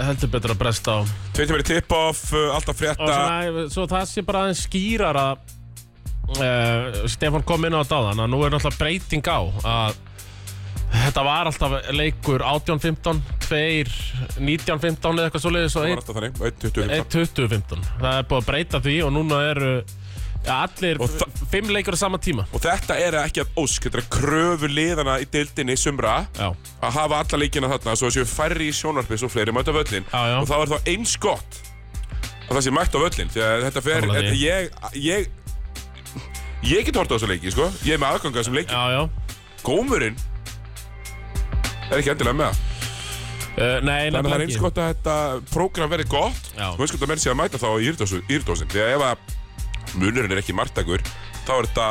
heldur betur að bresta á Tveitum verið tip-off, uh, alltaf Og frétta svona, svo það sé bara aðeins skýrar að uh, Stefán kom inn á þetta áðan að nú er náttúrulega breyting á að þetta var alltaf leikur 18-15, 2 19-15 eða eitthvað svoleiðis og Það var 1 alltaf þannig, 1.25 20-15 það er búið að breyta því og núna eru ja, allir Og það- fimm leikur á sama tíma Og þetta er ekki að ósk, þetta er að kröfu liðana í deildinni sumra Já. að hafa alla leikina þarna svo að séu færri í sjónarpið svo fleiri mæta völlin Já, já. og þá er þá eins gott að það sé mætt á völlin því að þetta fer, Sammála þetta því. ég, ég ég get hort á þessu leiki, sko ég er með aðganga þessum leiki, já, já gómurinn er ekki endilega með það Uh, nei, þannig að það nefnilega er eins ekki. gott að þetta prógram verði gott Já. og eins gott að menn sé að mæta þá í írdósin, írdósin. því að ef að munurinn er ekki margtakur þá er þetta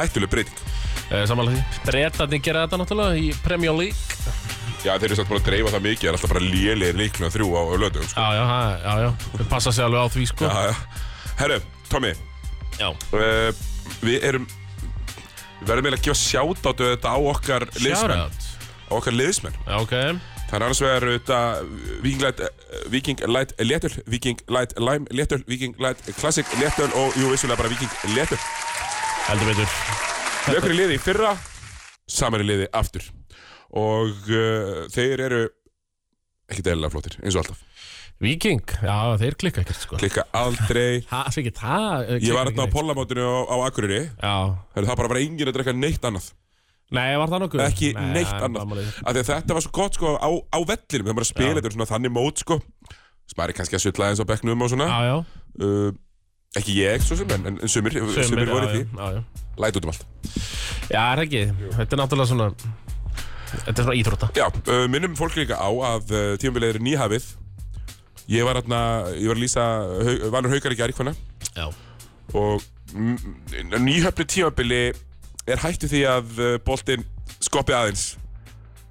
hættuleg breyting Uh, Samanlega því. Bretarnir gera þetta náttúrulega í Premier League. Já, þeir eru samt búin að dreifa það mikið, það er alltaf bara lélegir leiknum þrjú á, á lögdögum, sko. Já, já, ha- já, já. Þeir passa sig alveg á því, sko. Já, já. Herru, Tommy, Já. uh, við erum, við verðum eiginlega að gefa sjáttátu þetta á okkar liðsmenn, Shoutout. á okkar liðsmenn. Já, ok. Það er annars vegar auðvitað Viking Light, eh, Viking Light Léttöl, Viking Light Lime Léttöl, Viking Light Classic Léttöl og jú, vissulega bara Viking Léttöl. Heldur betur. Við okkur í liði í fyrra, saman í liði aftur. Og uh, þeir eru ekkert eðlilega flottir, eins og alltaf. Viking, já, þeir klikka ekkert, sko. Klikka aldrei, Það sé ekki það. eh, Ég var hérna á pollamótinu á, á Akureyri Já. Heyrðu, Það bara var enginn að drekka neitt annað Nei, var það nokkuð? Ekki Nei, neitt það er annað málið. Af því að Þetta var svo gott sko á, á vellinum Það var að spila þetta er svona þannig mót sko Smæri kannski að sulla eins á bekknum og svona Já, já. uh, Ekki ég svo sem en, en, en sumir, sumir, voru í já, því Já, já. Læt út um allt Já, er ekki. Þetta er náttúrulega svona... Þetta er svona íþrótta. Já, uh, minnum fólk líka á að uh, tímabilið er nýhafið Ég var hérna, ég var að lýsa hau, Valur Haukar í gær hvernig Já. og mm, nýhöfni tímabili er hættu því að uh, boltinn skoppi aðeins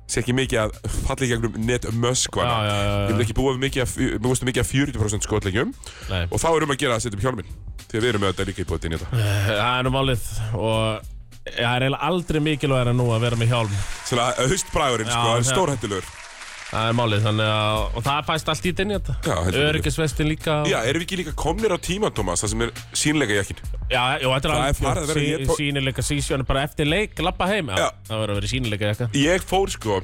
sé ekki mikið að falla í gegnum netmöskvana Já, já, já, já. ég vil ekki búa við mikið að, við búast við mikið að 40% skotlegjum Nei. og þá er um að gera að setja upp hjálminn því að við erum með þetta líka í bótinn í þetta Það er nú málið og... Það er eiginlega aldrei mikilvægir en nú að vera með hjálm. svona haustbræðurinn Já, sko, það er það- stórhættilegur Það er málið, þannig að... Og það fæst allt í dinni Já, þetta. heldur betur. Öryggisvestin líka. og- já, erum við ekki líka komnir á tíma, Thomas, það sem er sínleika jakkin Já, já, þetta er Það er alveg farið að vera sí- ég tó- sýnileika sísjón bara eftir leik, lappa heim Já, Já. það verður að vera sýnileika eitthvað ég fór sko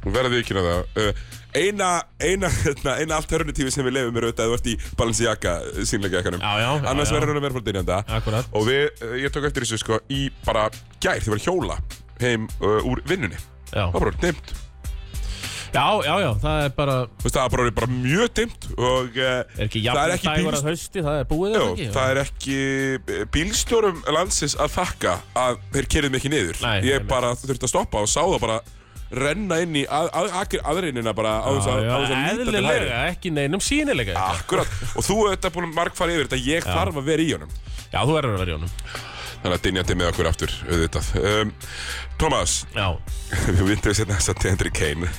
verðið ekki að það uh, eina, eina, hérna, eina alternatífi sem við lefum er auðvitað að þú ert í Balenciaga sínleika jakkanum Já, já, já, annars já. verður hún að vera fór dynjanda Akkurat. og við, uh, ég tók eftir þessu sko í bara gær, þið var að hjóla heim uh, úr vinnunni það Já. var bara dimmt, já, já, já, það er bara þú veist það var bara orðið bara mjög dimmt og uh, er ekki það er jafn ekki dægur að hausti, það er búið Jó, eða ekki það er ekki eh, bílstjórum landsins að þakka að þeir kerðum ekki niður Nei, ég nei, nei. bara þurfti að stoppa og sá það bara renna inn í að, að, að, aðreinina bara á þess að, Já, á já, þess að líta til hægri eðlilega, ekki neinum sýnileika eitthvað. Akkurat, og þú ert að búin margfari yfir þetta ég þarf að vera í honum Já, þú verður að vera í honum þannig að dynjandi með okkur aftur auðvitað um, Thomas, [laughs] Já, við vindum sérna þess að Tendri Kane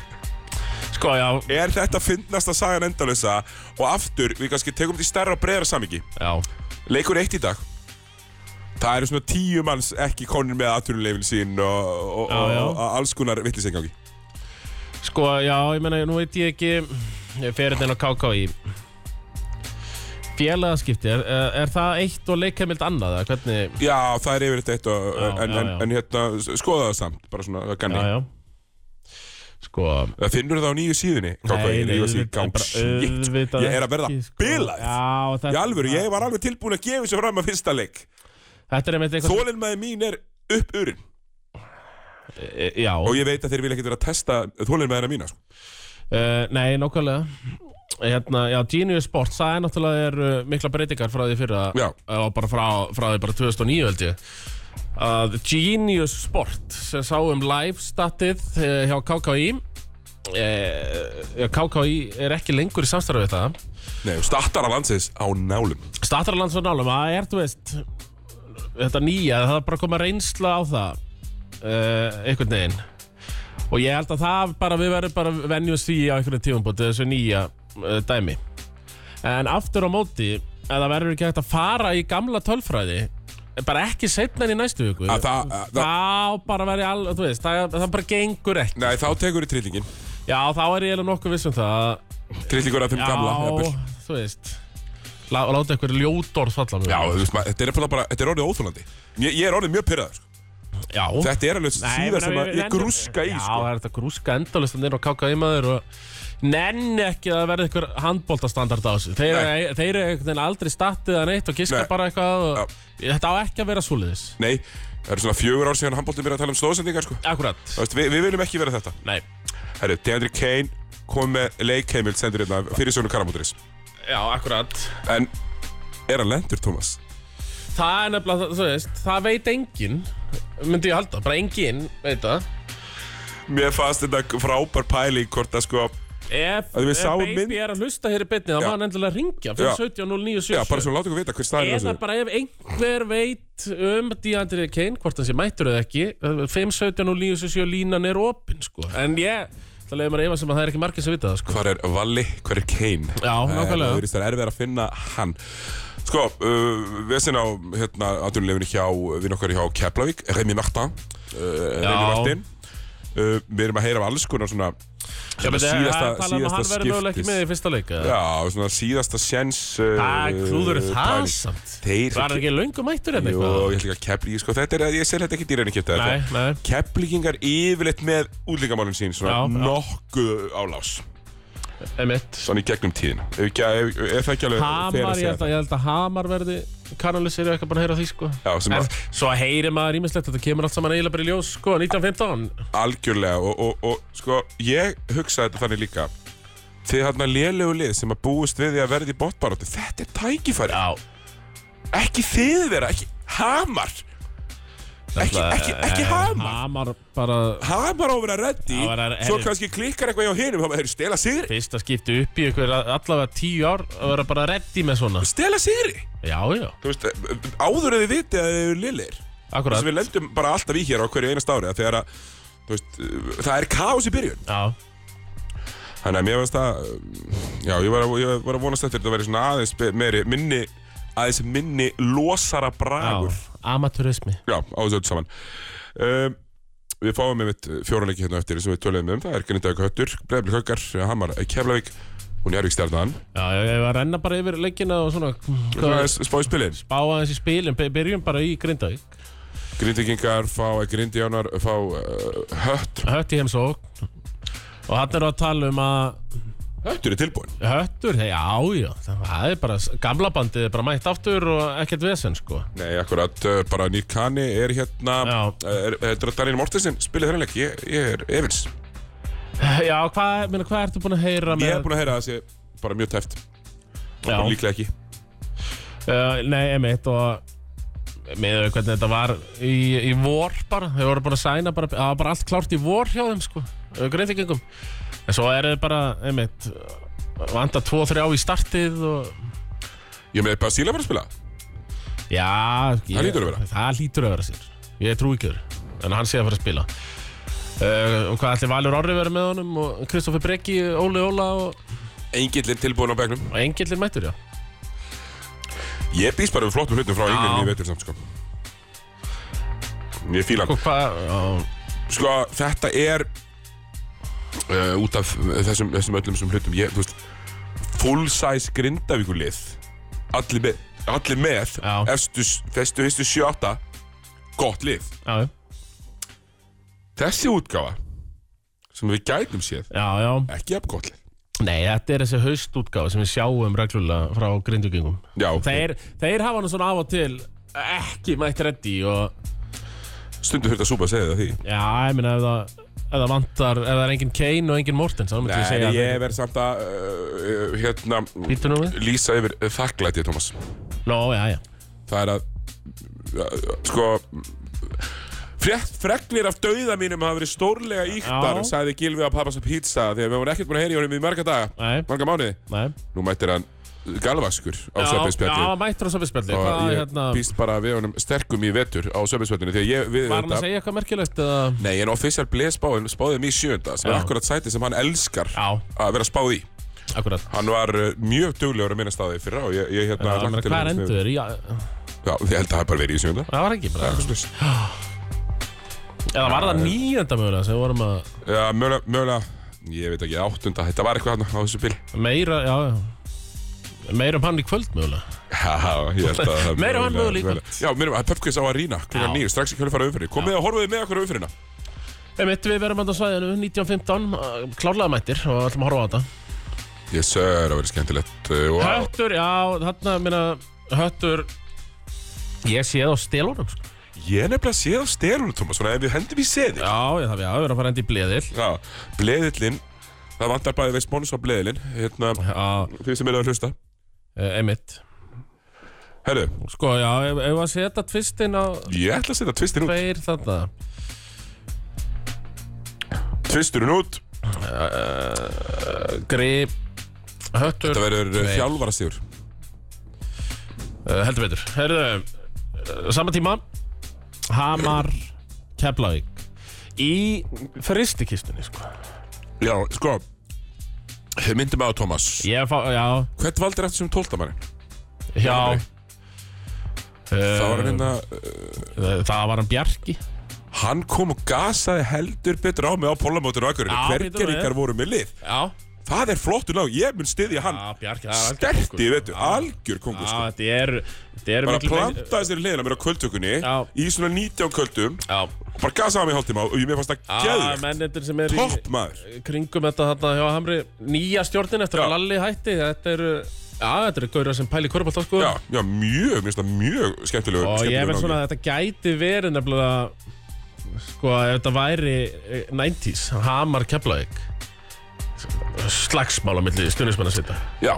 sko, já, er þetta fyndnasta sagan endalösa og aftur, við kannski tekum þetta í stærra og breyðra samingi já leikur eitt í dag það eru svona tíu manns ekki konir með aðtunuleifin sín og, og, Já, já. og, og alls konar vittlisengangi Sko, já, ég meina, nú veit ég ekki Ferðin á KKÍ Félagaskipti, er, er- er það eitt og leikheimild annað, eða hvernig já, það er yfirleitt eitt og, Já, en, já, en, já. en hérna, skoða það samt bara svona, það Já, ganni já Sko, það finnur það á nýju síðunni KKI, nýju síðu auðvitað- gang, bara shit, auðvitað ég er að verða ekki, sko. bilað Já, þetta, í alvöru, ég var alveg tilbúin að gefa þessu fram að fyrsta leik Þetta er einmitt eitthvað þólinmæði mín er upp urinn e, Já, og ég veit að þeir vilja ekkert vera að testa þólinmæðina mína sko. uh, nei, nákvæmlega Hérna, já, Genius Sports, það er eh, náttúrulega er, uh, mikla breytingar frá því fyrir Já. að bara frá, frá því bara 2009 held ég að Genius Sport sem sáum live statið eh, hjá KKI eh, KKI er ekki lengur í samstarfið þetta Nei, startar að landsins á nálum Statarlands og nálum, það er, þú veist Þetta nýja, það er bara komið reynsla á það uh, Einhvern veginn Og ég held að það bara, við verðum bara að venjumst því á einhvern tífumbúti Þessu nýja uh, dæmi En aftur á móti, ef það verður ekki hægt að fara í gamla tölfræði Bara ekki setna en í næstu viku Að það- að það- Þá bara verði all, þú veist, það, það bara gengur ekki Nei, þá tekur í trillingin Já, þá er ég eða nokkuð viss um það að- Trillingur af þeim gamla jafnvel. Já, þú veist lá- Láta einhverju ljótorð falla Já, þú veist, maður- þetta er bara, bara þetta er orðið óþólandi ég, ég er orðið mjög pyrraður sko. Já Þetta er alveg síðan sem að ég grúska í Já, sko. það er þetta grúska endalist en þeir eru að káka í maður og nenni ekki að verða einhver handbóltastandard á þessu Þeir, Nei. þeir eru einhvern veginn aldrei stattið að neitt og giska Nei. bara eitthvað og Þetta á ekki að vera svoleiðis Nei, það eru svona fjögur ár síðan handbóltum er að tala um stóðsendingar sko. Akkurat, Þú veist, við, við viljum ekki vera þetta nei Herru, Deandre Kane kom með leikheimild sendur hérna fyrir sögnu Karamóturis Já, akkurat En er hann lendur, Thomas? Það er nefnilega, þú veist, það veit enginn myndi ég halda, bara enginn veit það Mér fannst þetta frábær pæling hvort að sko Ef, Að við ef sáum baby mynd- er að hlusta hér í bytni þá Já. má hann endilega ringja Já. fyrir 17.09.77 Já, bara svona láta ykkur vita hver staðir Eða bara ef einhver veit um Deandre Kane, hvort hann sé mættur eða ekki 5.17 og 9.7 línan er opinn sko. en ég það leiði mér að efa sem að það er ekki margir sem vita það sko. Hvar er Valli, hver er Kane? Eh, Já, nákvæmlega. Það er- það er erfið að finna hann Sko, uh, vesinn á hérna, aðdunlefinu hjá, við okkar hjá Keflavík Remi Martin uh, Remi Já. Martin uh, Við erum að heyra af alls konar svona Já, svona menn, það er talað um að hann verður mögulega ekki með í fyrsta leika Já, svona síðasta sjens uh, Það er klúður er það pæling. samt. Þeir var hann ekki löngu mættur eða Jó, eitthvað ég ætla ekki að keflík sko, þetta er, ég sel þetta ekki dýrinn ekki þetta Nei, nei. Keflíkingar yfirleitt með útlíkamálinn sín svona Já, já. nokkuð álás Emitt svona í gegnum tíðina ef, ekki, ef, ef það ekki alveg fair Hamar, ég held, að, ég held að Hamar verði kanalisir og eitthvað bara að heyra því sko Já, sem En að- svo heyri maður ímislegt þetta kemur allt saman eiginlega bara í ljós sko 1915 algjörlega og, og, og sko, ég hugsaði þetta þannig líka þið hann að lélegu lið sem að búist við því að verði í botbaróttu þetta er tækifæri, Já, ekki þið þeirra ekki hamar ekki, ekki, ekki hamar eh, Hamar bara Hamar á að vera reddi, Á að vera- svo herri- kannski klikkar eitthvað hjá hinum, þá maður stela sigri, fyrsta skipti upp í ykkur allavega tíu ár að vera bara reddi með svona stela sigri Já, já, þú veist, áður en þið viti að þið eru lillir akkurat þess að við lendum bara alltaf í hér á hverju einast ári að þegar að, þú veist, það er kaos í byrjun Já, þannig að mér varst að já, ég var að, ég var að vonast eftir þetta að vera svona aðeins be- meiri, minni aðeins minni losara já, bragur já, amatúrismi á þessu öllu saman um, við fáum einmitt fjóraleiki hérna eftir sem við töluðum um, það er Grindavík Höttur Breiðblik Höggar, Hamar, eh, Keflavík og Njárvík Stjarnan Já, já, ég var að renna bara yfir leikina og svona hvað- spáði spilin Spá aðeins í spilin, be- byrjum bara í Grindavík Grindvíkingar fá Grindjánar fá uh, Hött Hött í heimsók Og hann er að tala um að Höttur er tilbúin Höttur, hei, já, já Það er bara, gamla bandið er bara mætt aftur og ekkert vesen, sko Nei, akkurat, uh, bara Nýr Kani er hérna Já. uh, er, er, Daníel Mortensen spilir þennan leik, ég, ég er efins Já, hvað, minna, hvað ertu búin að heyra með Ég hef búin að heyra að það sé bara mjög tæft Já. Bara Líklega ekki Uh, nei, emitt og með þau hvernig þetta var í, í vor bara, þau voru búin að sæna bara, það var bara allt klárt í vor hjá þeim sko, greiðingum en svo eru þau bara, emitt vanda 2-3 á í startið og Ég meði bara síla bara að spila já, ég, Það hlýtur að vera. það hlýtur að vera sér, ég trúi ekki þurr en hann sé að fara að spila uh, og hvað ætli Valur Orri verið með honum og Kristoffer Breggi, Óli Óla og, Engill er tilbúin á begnum og Engillir mættur já Ég býst bara við flottum hlutum frá Engilin Já. í vetur samt sko Ég fíla hann og hvað, já, Sko, þetta er uh, Út af þessum, þessum öllum þessum hlutum Ég, þú veist Full size grindavíkulið Allir með, allir með Já. Efstu, festu, fyrstu, sjötta Gott lið já, Þessi útgáfa sem við gætum séð já, já ekki jafn gott lið. Nei, þetta er þessi haustútgáð sem við sjáum reglulega frá grindugingum. Já, Þeir, þeir hafa nú svona af og til ekki mætt reddi og stundum þurft að súpa að segja það því já, ég meina ef það, ef það vantar, ef það er engin Kane og engin Mortens, þá myndi ég Nei, segja ég verð samt að uh, hérna, Býttu nú við? lýsa yfir uh, þakklætið, Thomas Nó, já, já. Það er að uh, sko, Frétt fregnir af dauða mínum hafa verið stórlega íktar, Já. sagði Gilvi að pappa sem pizza því að við vorum ekkert búin að heyra í honum í marga daga, Nei. marga mánuði. Nei. Nú mættir hann galvaskur á Já, já, söpispjalli hann mættur á söpispjalli. og Hvað, ég hérna, býst bara við honum sterkum í vetur á söpispjallinu því að ég við var hann að segja eitthvað merkilegt eða? Nei, en official blesspáin spáði mér í sjönda sem er Já. akkurat sæti sem hann elskar Já. að vera spáð í. Akkurat. Hann var uh, mjög duglegur að minna staði fyrra og ég, ég hérna... Já, lagt menn, til hvað er hans með- endur Ah, þér? Já, Já, ég held að það hafi bara verið í hérna. sjönda. það var ekki bara. Eða var það nýjönda mögulega sem við vorum að Já, mögulega, mögulega, ég veit ekki, áttunda, þetta var eitthvað hann á þessu bíl. [laughs] meira, já, já. Meira um hann í kvöld mögulega. Já, ég held að það Meira um hann mögulega í mögulega- Já, meira um hann, Pöpkvist á að rýna, klukkan Já. nýju, strax í kjölfara umfyrir. Komið og horfið með okkur á umfyrirna. Einmitt, við verum að svæðinu 19.15, klárlega mættir og ætlum að horfa á þetta. Yes, sir, það verið skemmtilegt. uh, og- Höttur, já, þarna, minna, höttur Ég sé það á stelunum sko. Ég er nefnilega séð á stelunum, Thomas, svona ef við hendum í seðil. Já, ég þarf, já, við erum að fara enda í bleðil Já, bleðillinn, það vantar bæði við spons á bleðillinn, hérna, Já, því sem er að hlusta. eh, einmitt Herru, Sko, já, ef ef að setja tvistinn á ég ætla að setja tvistin út. tveir þarna Tvisturinn út, Grip, höttur þetta verður Tveir. þjálfara sigur. uh, Heldur betur Herðu, eh, sama tíma Hamar, Keflavík Í fristikistunni, sko Já, sko, myndum á Thomas. Ég fá, já, Hvert valdir eftir sem tóltamannin? já Það var Eh, hérna, Það var hann Bjarki hann kom og gasaði heldur betur á mig á pólamótinu og akkurinn. Já, býtum Hverger við. ykkar voru með lið? Já, Það er flottur lag, ég mun styðja hann. Bjarki, það er algjör Sterti, kóngur. veitu, algjör kongur, Já, sko. þetta er, þetta er Bara miklu meiri- plantaði sér í hliðina mér á kvöldtökunni Já. í svona 19 kvöldum Já, og bara gasaði á mig í hálftíma og ég mér fannst það Já, geðvegt. mennendur sem er Topp maður. í kringum þetta þarna hjá Hamri Nýja stjórnin eftir að Já. Lalli hætti Þetta eru, já, þetta eru gauðra sem pæli korfbalt sko Já, já, mjög, mér finnst það mjög skemmtilegur Og ég skemmtilegur veit svona náungi. að þetta gæti verið nefnilega Sko, ef þetta væri eh, 90s, Hamar Keflavík slagsmál á milli stjórnismenn að sitja Já.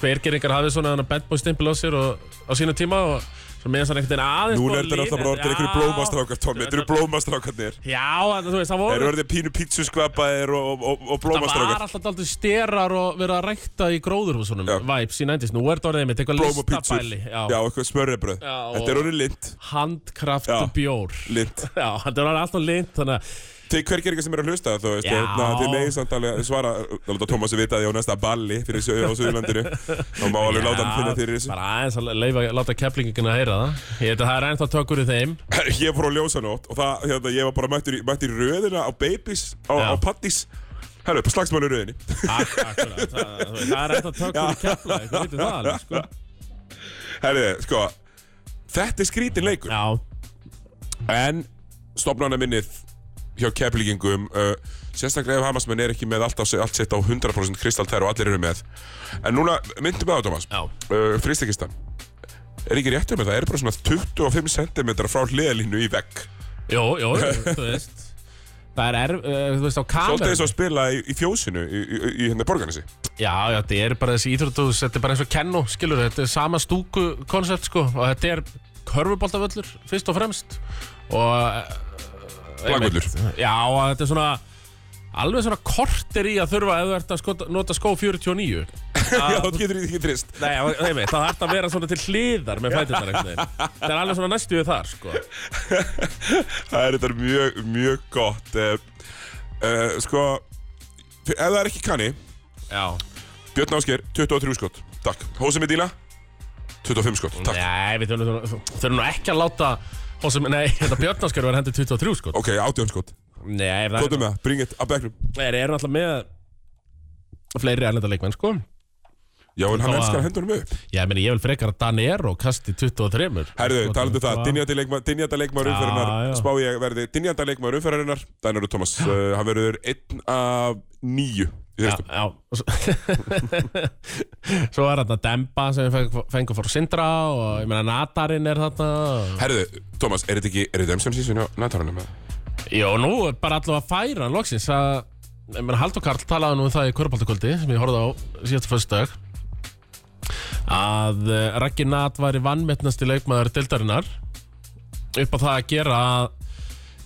hver geringar hafið svona bad boy stimpil á sér og, á sínu tíma og svo meðan það einhvern veginn aðeins Nú fór er þetta lið- alltaf bara orðin einhverju Já. blómastrákar, Tommi, þetta eru blómastrákarnir. Já, þetta, þú veist, það voru Þeir eru orðið pínu pítsuskvapaðir og, og, og, og Það var blómastrákar. alltaf daldið sterar og verið að rækta í gróðurhúsunum Já. Vibes í nændis, nú er þetta orðið mitt eitthvað Blóm og pítsur. listabæli Já, já. eitthvað smörrebröð. Já, og- Þetta er orðið lint. Handkraft Já. og bjór Lint. Já, þetta er orðið alltaf lint Þannig að, Þeir hvergir ekki sem eru að hlusta þú veist, Já. hérna, þið megin samt alveg að svara, þá láta Tómasi vita því á næsta balli fyrir söðu á Suðurlandinu. Þá má alveg láta hann finna fyrir þessu. bara aðeins að leifa, láta keflingin að heyra það Ég veit að það er ennþá tökur í þeim [laughs] Ég fór á ljósanót og það, hérna, ég var bara mættur í, mættur í röðina á babies, á, Já. á pattis. Herru, upp á slagsmáli röðinni. Ak- Akkurat, það, þú veist, það er ennþá tökur í kefla Þú veitir það alveg, sko [laughs] Herru, sko, þetta er skrítin leikur. Já, En stopnana minnið hjá keflingum uh, Sérstaklega ef Hamasmenn er ekki með allt, á, allt sitt á 100% kristaltær og allir eru með En núna, myndum við á Thomas Já. uh, Fristekistan Er ekki réttum með það, er bara svona 25 cm frá hliðalínu í vegg jú, jú, þú veist Það er erf, uh, þú veist, á Svolítið eins og kamerum að spila í, í fjósinu í, í, í hérna borganessi Já, já, þetta er bara þessi íþróttús, þetta er bara eins og kennu, skilur, þetta er sama stúku koncept, sko, og þetta er körfuboltavöllur, fyrst og fremst, og... eh, Blagvöllur. einmitt. Já, og þetta er svona, alveg svona kortir í að þurfa ef þú ert að skota, nota skó 49. [laughs] Já, þú getur ekki trist Nei, og- einmitt, það þarf að vera svona til hliðar með fætirnar, einhvern veginn. Það er alveg svona næstu við þar, sko. Það er þetta mjög, mjög gott uh, uh, Sko, ef það er ekki kanni Já. Björn Ásker, 23 skot, takk Hósi Medina, 25 skot, takk Nei, við þurfum, þurfum, þurfum nú ekki að láta, hósum, nei, [laughs] hérna þetta Björnarskjörn var hendur 23, sko. Ok, 18 skot Nei, ef það er... Góðum með það, bring it, að bekknum Þeir eru alltaf með fleiri erlenda leikmenn sko Já, en hann Þá að- elskar að henda honum upp Já, meni, ég vil frekar að Dan Ero kasti 23 Herðu, talandu það, Sko, dynjandi leikma- dynjandi leikmaður Já, umferðarinnar já. Spá ég verði dynjandi leikmaður umferðarinnar Dænur og Thomas, uh, hann verður einn af níu í Já, fyrstum já [laughs] og svo- Svo er þarna Demba sem við feng- fengum fór Sindra og ég meina Natarinn er þarna og- Herðu, Thomas, er þetta ekki, er þetta emsjón sísun á Natarunum? Jó, nú er bara allavega að færa hann loksins að Ég meina, Haldur Karl talaði nú um það í Körbaldakvöldi sem ég horfði á síðastu föstudag að eh, Raggi Nat var í vannmettnasti leikmaður deildarinnar upp á það að gera að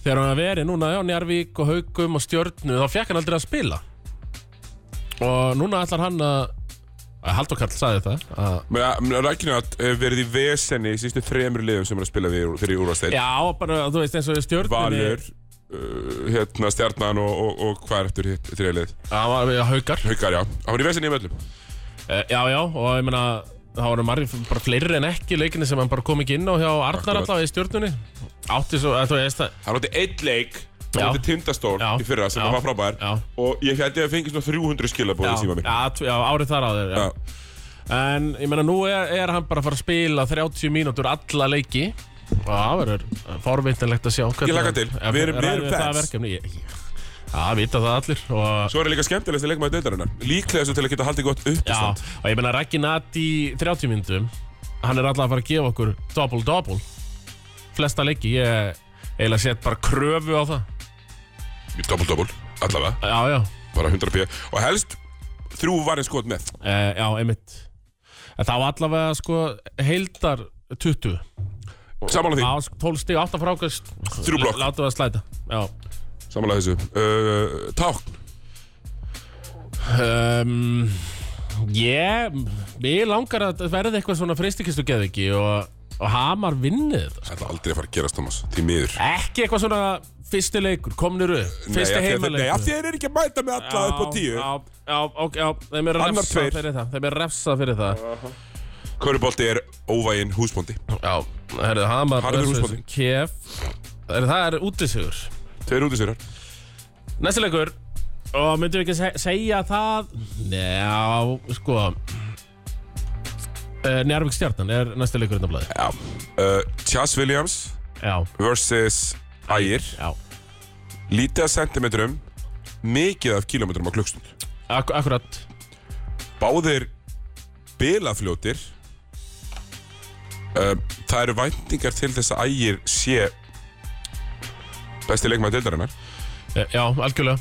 þegar hann verið núna á Njarvík og Haugum og Stjörnu þá fekk hann aldrei að spila og núna ætlar hann að að Haldur Karl sagði það að, Rækjunat hefur eh, verið í vesenni í sístu þremur liðum sem er að spila við, fyrir úrvasteitt já, bara, þú veist, eins og í Stjörnunni Valur, uh, hérna Stjarnan og, og, og hvað er eftir hitt þriðlið? hann var við Haugar Haukar, já. Hann var í vesenni í möllum. Eh, Já, já, og ég meina það voru margir, bara fleiri en ekki leikinni sem hann bara kom ekki inn á hjá Arnar Akkurat. allavega í stjórnunni átti svo, eða þú veist það Hann átti einn leik Já. hann átti tindastól Já. í fyrra sem Já. var frábær Já. og ég hætti að fengi svona 300 skilabóð í síma já, mér. já, já, árið þar á þér já. Já. en ég meina nú er, er hann bara að fara að spila 30 mínútur alla leiki og það verður forveitinlegt að sjá hvernig Ég hlakka hann- til. Já, Við erum- við ræðum erum það fans. verkefni Ég- ég- Já, vita það allir og, Svo er það líka skemmtilegst að leikmaði deildarinnar. Líklega þessu til að geta haldið gott já, uppistand. og ég meina Raggi Nat í 30 mínútum hann er allavega að fara að gefa okkur double-double flesta leiki ég eiginlega sett bara kröfu á það Double, double, allavega, Já, já, bara 100 p. Og helst þrjú varins skot með. e, já, einmitt En það var allavega sko heildar 20 Samála því, Það var sko 12 stig, 8 frákast Þrjú blokk. Látum við að slæta Já samála þessu. Uh, tákn, um, Ég, mig langar að þetta verði eitthvað svona fristikistu geðviki og, og Hamar vinnið þetta þetta er aldrei að fara að gerast, Thomas, því miður. Ekki eitthvað svona fyrsti leikur, komnir upp Fyrsti Nei, af því að þeir- heimaleikur Nei, af því að þeir eru ekki að mæta með alla upp á tíu. Já, já, ok, já, þeim er Annar refsa tveir. fyrir það Þeim er refsa fyrir það Körubolti er óvæginn húsbóndi. Já, herðu, Hamar Harður versus húsbóndi. KF Herðu, það er útisugur Tveir út í sér Næsti leikur Og myndum við ekki se segja það Já, sko uh, Njárvík stjarnan er næsti leikur innan blæði Já. Uh, Chas Williams Já, versus Ægir. já Lítið af sentimetrum, mikið af kilometrum á klukkstund. Ak Akkurat Báðir bilafljótir. Uh, það eru væntingar til þess að Ægir sé besti leikmaður deildarinnar. Eh, Já, algjörlega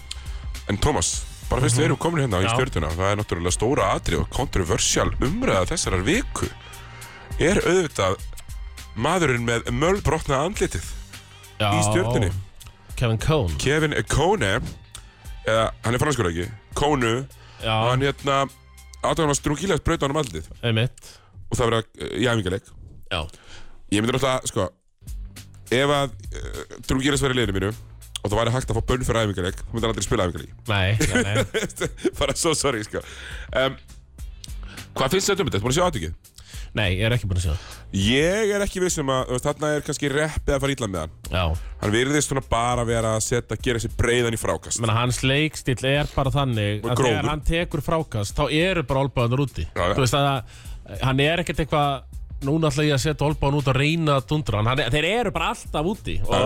En Tómas, bara fyrst við erum komin hérna í Mhm. Já. stjórnuna, það er náttúrulega stóra atrið og kontroversial umræða þessarar viku. Er auðvitað maðurinn með mölbrotna andlitið já, í stjórnunni? Kevin Cohn Kevin Kone, eða hann er franskur ekki, Konu, Já, hann hérna, aðtöðan var strungilegt braut á hann um andlitið einmitt og það verða eh, í æfingarleik. Já, Ég myndi náttúrulega, sko, ef að uh, strungilegt verið í liðinu mínu og það væri hægt að fá bönn fyrir æfingarleik, þá myndi hann aldrei spila æfingarleik. nei, nei, [laughs] nei bara so sorry sko um, Hvað finnst þetta um þetta? Þetta búin að sjá aðtökið? Nei, ég er ekki búin að sjá það. Ég er ekki viss um að þú veist, þarna er kannski reppið að fara illa með hann Já, Hann virðist svona bara vera að setja gera sér breiðan í frákast menna hans leikstíll er bara þannig að grófur. þegar hann tekur frákast þá eru bara olbáðunar úti Já, já. þú veist að að hann er ekkert eitthvað núna ætla ég að setja olbáðun út og reyna að dundra hann, hann er- þeir eru bara alltaf úti og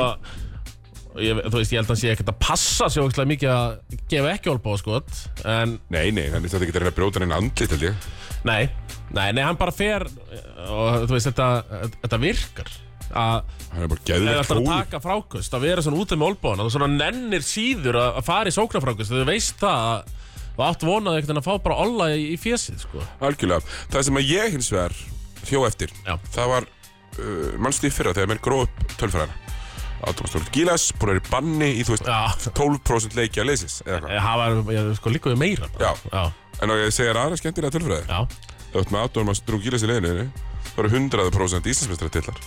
ég, þú veist ég held að hann sé ekkert að passa sér ógeðslega mikið að gefa ekki olbáðu skot en Nei, nei, hann er þetta ekki að reyna að brjóta hann inn andlit held ég nei, nei, nei hann bara fer eh, og þú veist þetta, þetta virkar að Hann er bara Það er geðvegt alltaf að tóður taka frákust, að vera svona úti með olbóna og svona nennir síður að að fara í sóknarfrákust þegar þú veist það að og átt vonaði ekkert en að fá bara olla í, í fjesið sko. Algjörlega, það sem að ég hins vegar hjó eftir Já. Það var, uh, mannstu í fyrra þegar menn gróð upp tölfræðina Átumast Þorður Gílas, búin að vera í banni í, þú veist, Já. 12% leikja leysins eða eitthvað Eh, Það var ég, sko líka við meira bara. Já. En ef ég segir aðra skemmtilega tölfræði já, Þú ert með aðdóðum að strúkilis í leginu þinni Það eru 100% Íslandsmeistratillar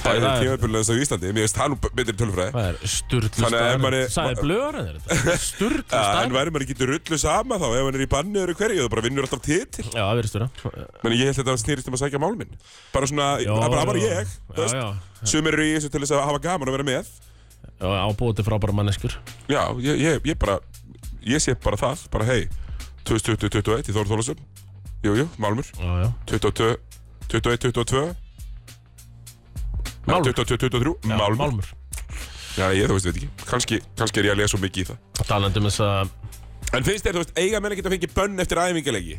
Það það er er- tímabiliðans á Íslandi Mér finnst það nú betri tölfræði það er sturdlu Þannig að ef maður er- staðar Sæði blöður en [laughs] þetta Sturdlu Ja, En staðar væri maður ekki rullu sama þá Ef hann er í banni öðru hverju Þú bara vinnur alltaf titil Já, það verður stúra Men ég held þetta að snýrist um að sækja mál minn Bara svona, það er bara, bara ég þú Já, veist. já, Sumir eru í þessu til þess að hafa gaman að vera með já, ábúið til frábæra manneskur Já, ég, ég, ég bara Ég sé bara það, bara hei 2021 í Þór Þólasum Jú, jú, Málmur Já, já 22, 21, 22 Nei, Málmur. 22, 23 Já, Málmur Málmur Já, ég þú veist, veit ekki. Kanski, kannski er ég að lesa svo mikið í það. Talandi um þess að En finnst þér, þú veist, eiga menn ekki að fengi bönn eftir æfingalegi?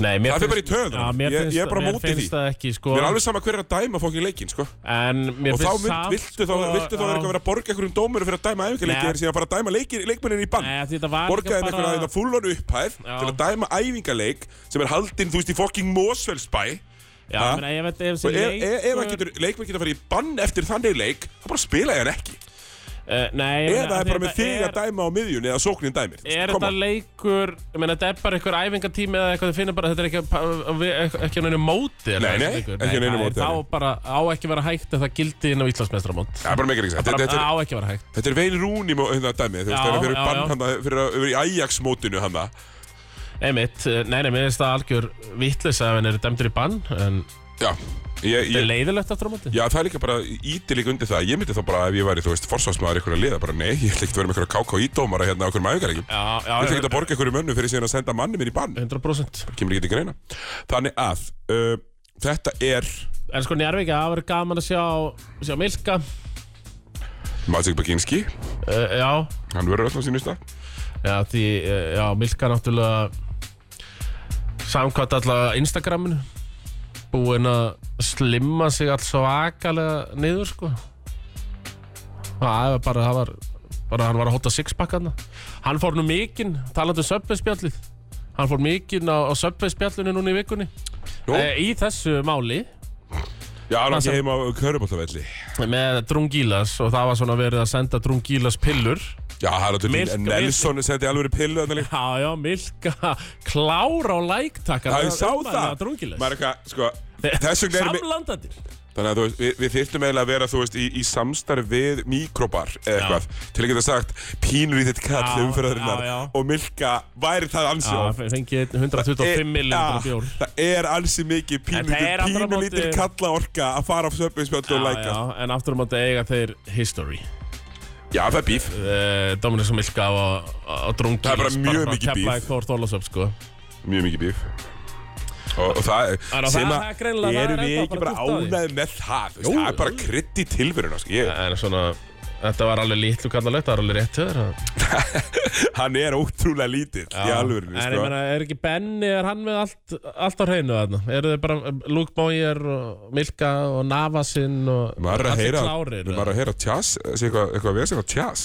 Nei, mér Það fer bara í finnst- töðuna. Já, mér Ég- finnst ég er bara á mér móti finnst því. það ekki sko Mér er alveg sama hver er að dæma fólk í leikin, sko. En mér Og þá finnst mynd, samt, viltu þá, sko, viltu þá vera já. eitthvað að vera að borga einhverjum dómurum fyrir að dæma æfingalegi Nei. eða síðan að fara að dæma leikir, leikmennin í bann. Nei, því þetta var Borga þeim líka eitthvað að þetta fullon upphæð Já. til að dæma æfingaleik sem er haldinn, þú veist, í fucking Mosfellsbæ. Já, Ha? ég meina, ég veit, ef Og þessi ef- ef- ef hann leikur... getur, leikmenn getur að fara í bann eftir þannig leik þá bara spila ég hann ekki Eh, Nei, ég meina, eða það af er því bara með þig er- að dæma á miðjun eða sóknin dæmir Er Come þetta on. leikur, ég meina, þetta er bara einhver æfingatími eða eitthvað, þið finnir bara, þetta er ekki, pa- vi- ekki á neinu móti er Nei, nei, það þessi leikur? ekki á neinu það er- móti, nei. Þá bara á ekki að vera hægt ef það gildi inn á Íslandsmeistramót Það er bara meikar ekki Bara þetta, þetta, á er- ekki að vera hægt þetta er veil rúni hérna dæmi þú veist Já, þegar fyrir já, bann já. hann fyrir að vera í Ajax-mótinu hann Einmitt, eh, nei, nei, mér finnst það algjör vittlisa ef hann er dæmdur í bann en já ég, þetta ég, er leiðilegt aftur á móti já það er líka bara íti líka undir það ég myndi þá bara ef ég væri þú veist forsvarsmaður ykkur að liða bara nei ég ætla ekki að vera með ykkur að káka í dómara hérna okkur með æfingar ekki ég Já, já, ætla ekki að borga ykkur í mönnu fyrir síðan að senda manni minn í bann 100% kemur ekki til greina þannig að uh, þetta er En sko Njarvík, það verður gaman að sjá, sjá Milka uh, Magic Baginski Já, hann verður öll á sínu stað já, því, uh, já, Milka náttúrulega samkvæmt allavega Instagraminu búin að slimma sig alls svakalega niður sko Það var bara, það var bara hann var að hóta sixpackaðna Hann fór nú mikinn, talandi um söpveispjallið Hann fór mikinn á, á söpveispjallinu núna í vikunni Nú? e, Í þessu máli já hann er sem- ekki heima á körubóltavelli með Drungilas og það var svona verið að senda Drungilas pillur já hann er Milk- til Nelson sendi alveg pillu þannig Já, já, Milka klára á læktakka Já, ég sá það Drungilas Maður er eitthvað, sko Þess vegna erum við Samlandandi Þannig að þú veist, við, við þyrftum eiginlega að vera, þú veist, í, í samstarf við mikrobar eða eitthvað Til að geta sagt, pínur í þitt kall Já, umferðarinnar já, já. Og milka, væri það ansi Já, of? fengið 125 milljónir bjór Já, Það er ansi mikið En það er aftur á pínur lítil móti- kalla orka að fara á söpinspjöldu og Já, læka já, en aftur um að eiga þeir history Já, það er bíf uh, Dominus og Milka á, á Drungilas Það er bara mjög mikið bíf. Keflaði hvort Ólasöf, sko Mjög mikið bíf Og, og það, Það er- sem það er greinilega- að það er erum við ennþá ekki bara bara dútt að því. ánægð með það þú veist, Jú, Það er bara krydd í tilveruna, sko ég, En svona, þetta var alveg litlu kallalegt, það var alveg rétt höður Hann er ótrúlega lítill í alvörinu, En ég sko meina, er ekki Benny, er hann með allt, allt á hreinu þarna? Eru þið bara Luke Boyer og Milka og Navasinn og maður er að heyra klárir? maður er að heyra tjás sé eitthvað, eitthvað að vesen á tjás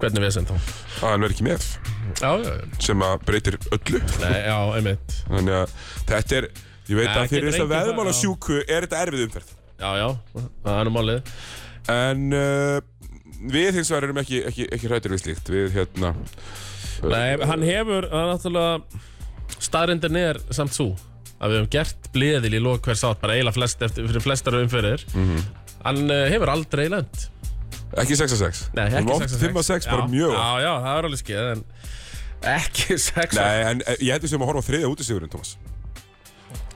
Hvernig við sem þá? að hann verð ekki með Já, já, já. sem að breytir öllu Nei, já, einmitt. þannig að þetta er ég veit Nei, að fyrir getur þess að enginn veðmála það, já. sjúku er þetta erfið umferð Já, já, það er nú málið. en uh, við hins vegar erum ekki, ekki, ekki hrættir við slíkt við hérna Nei, hann hefur, það er náttúrulega, staðrindin er samt svo að við höfum gert bleðil í lók hvers átt, bara eiginlega flest eftir, fyrir flestar umfyrir. Hann eh, hefur aldrei lent. ekki 6 að 6 Nei, ekki 6 5 að 6 bara mjög oft. Já, já, það er alveg skeið, en ekki [laughs] 6 nei, en eh, ég heldur sem að horfa á þriðja útisigurinn, Thomas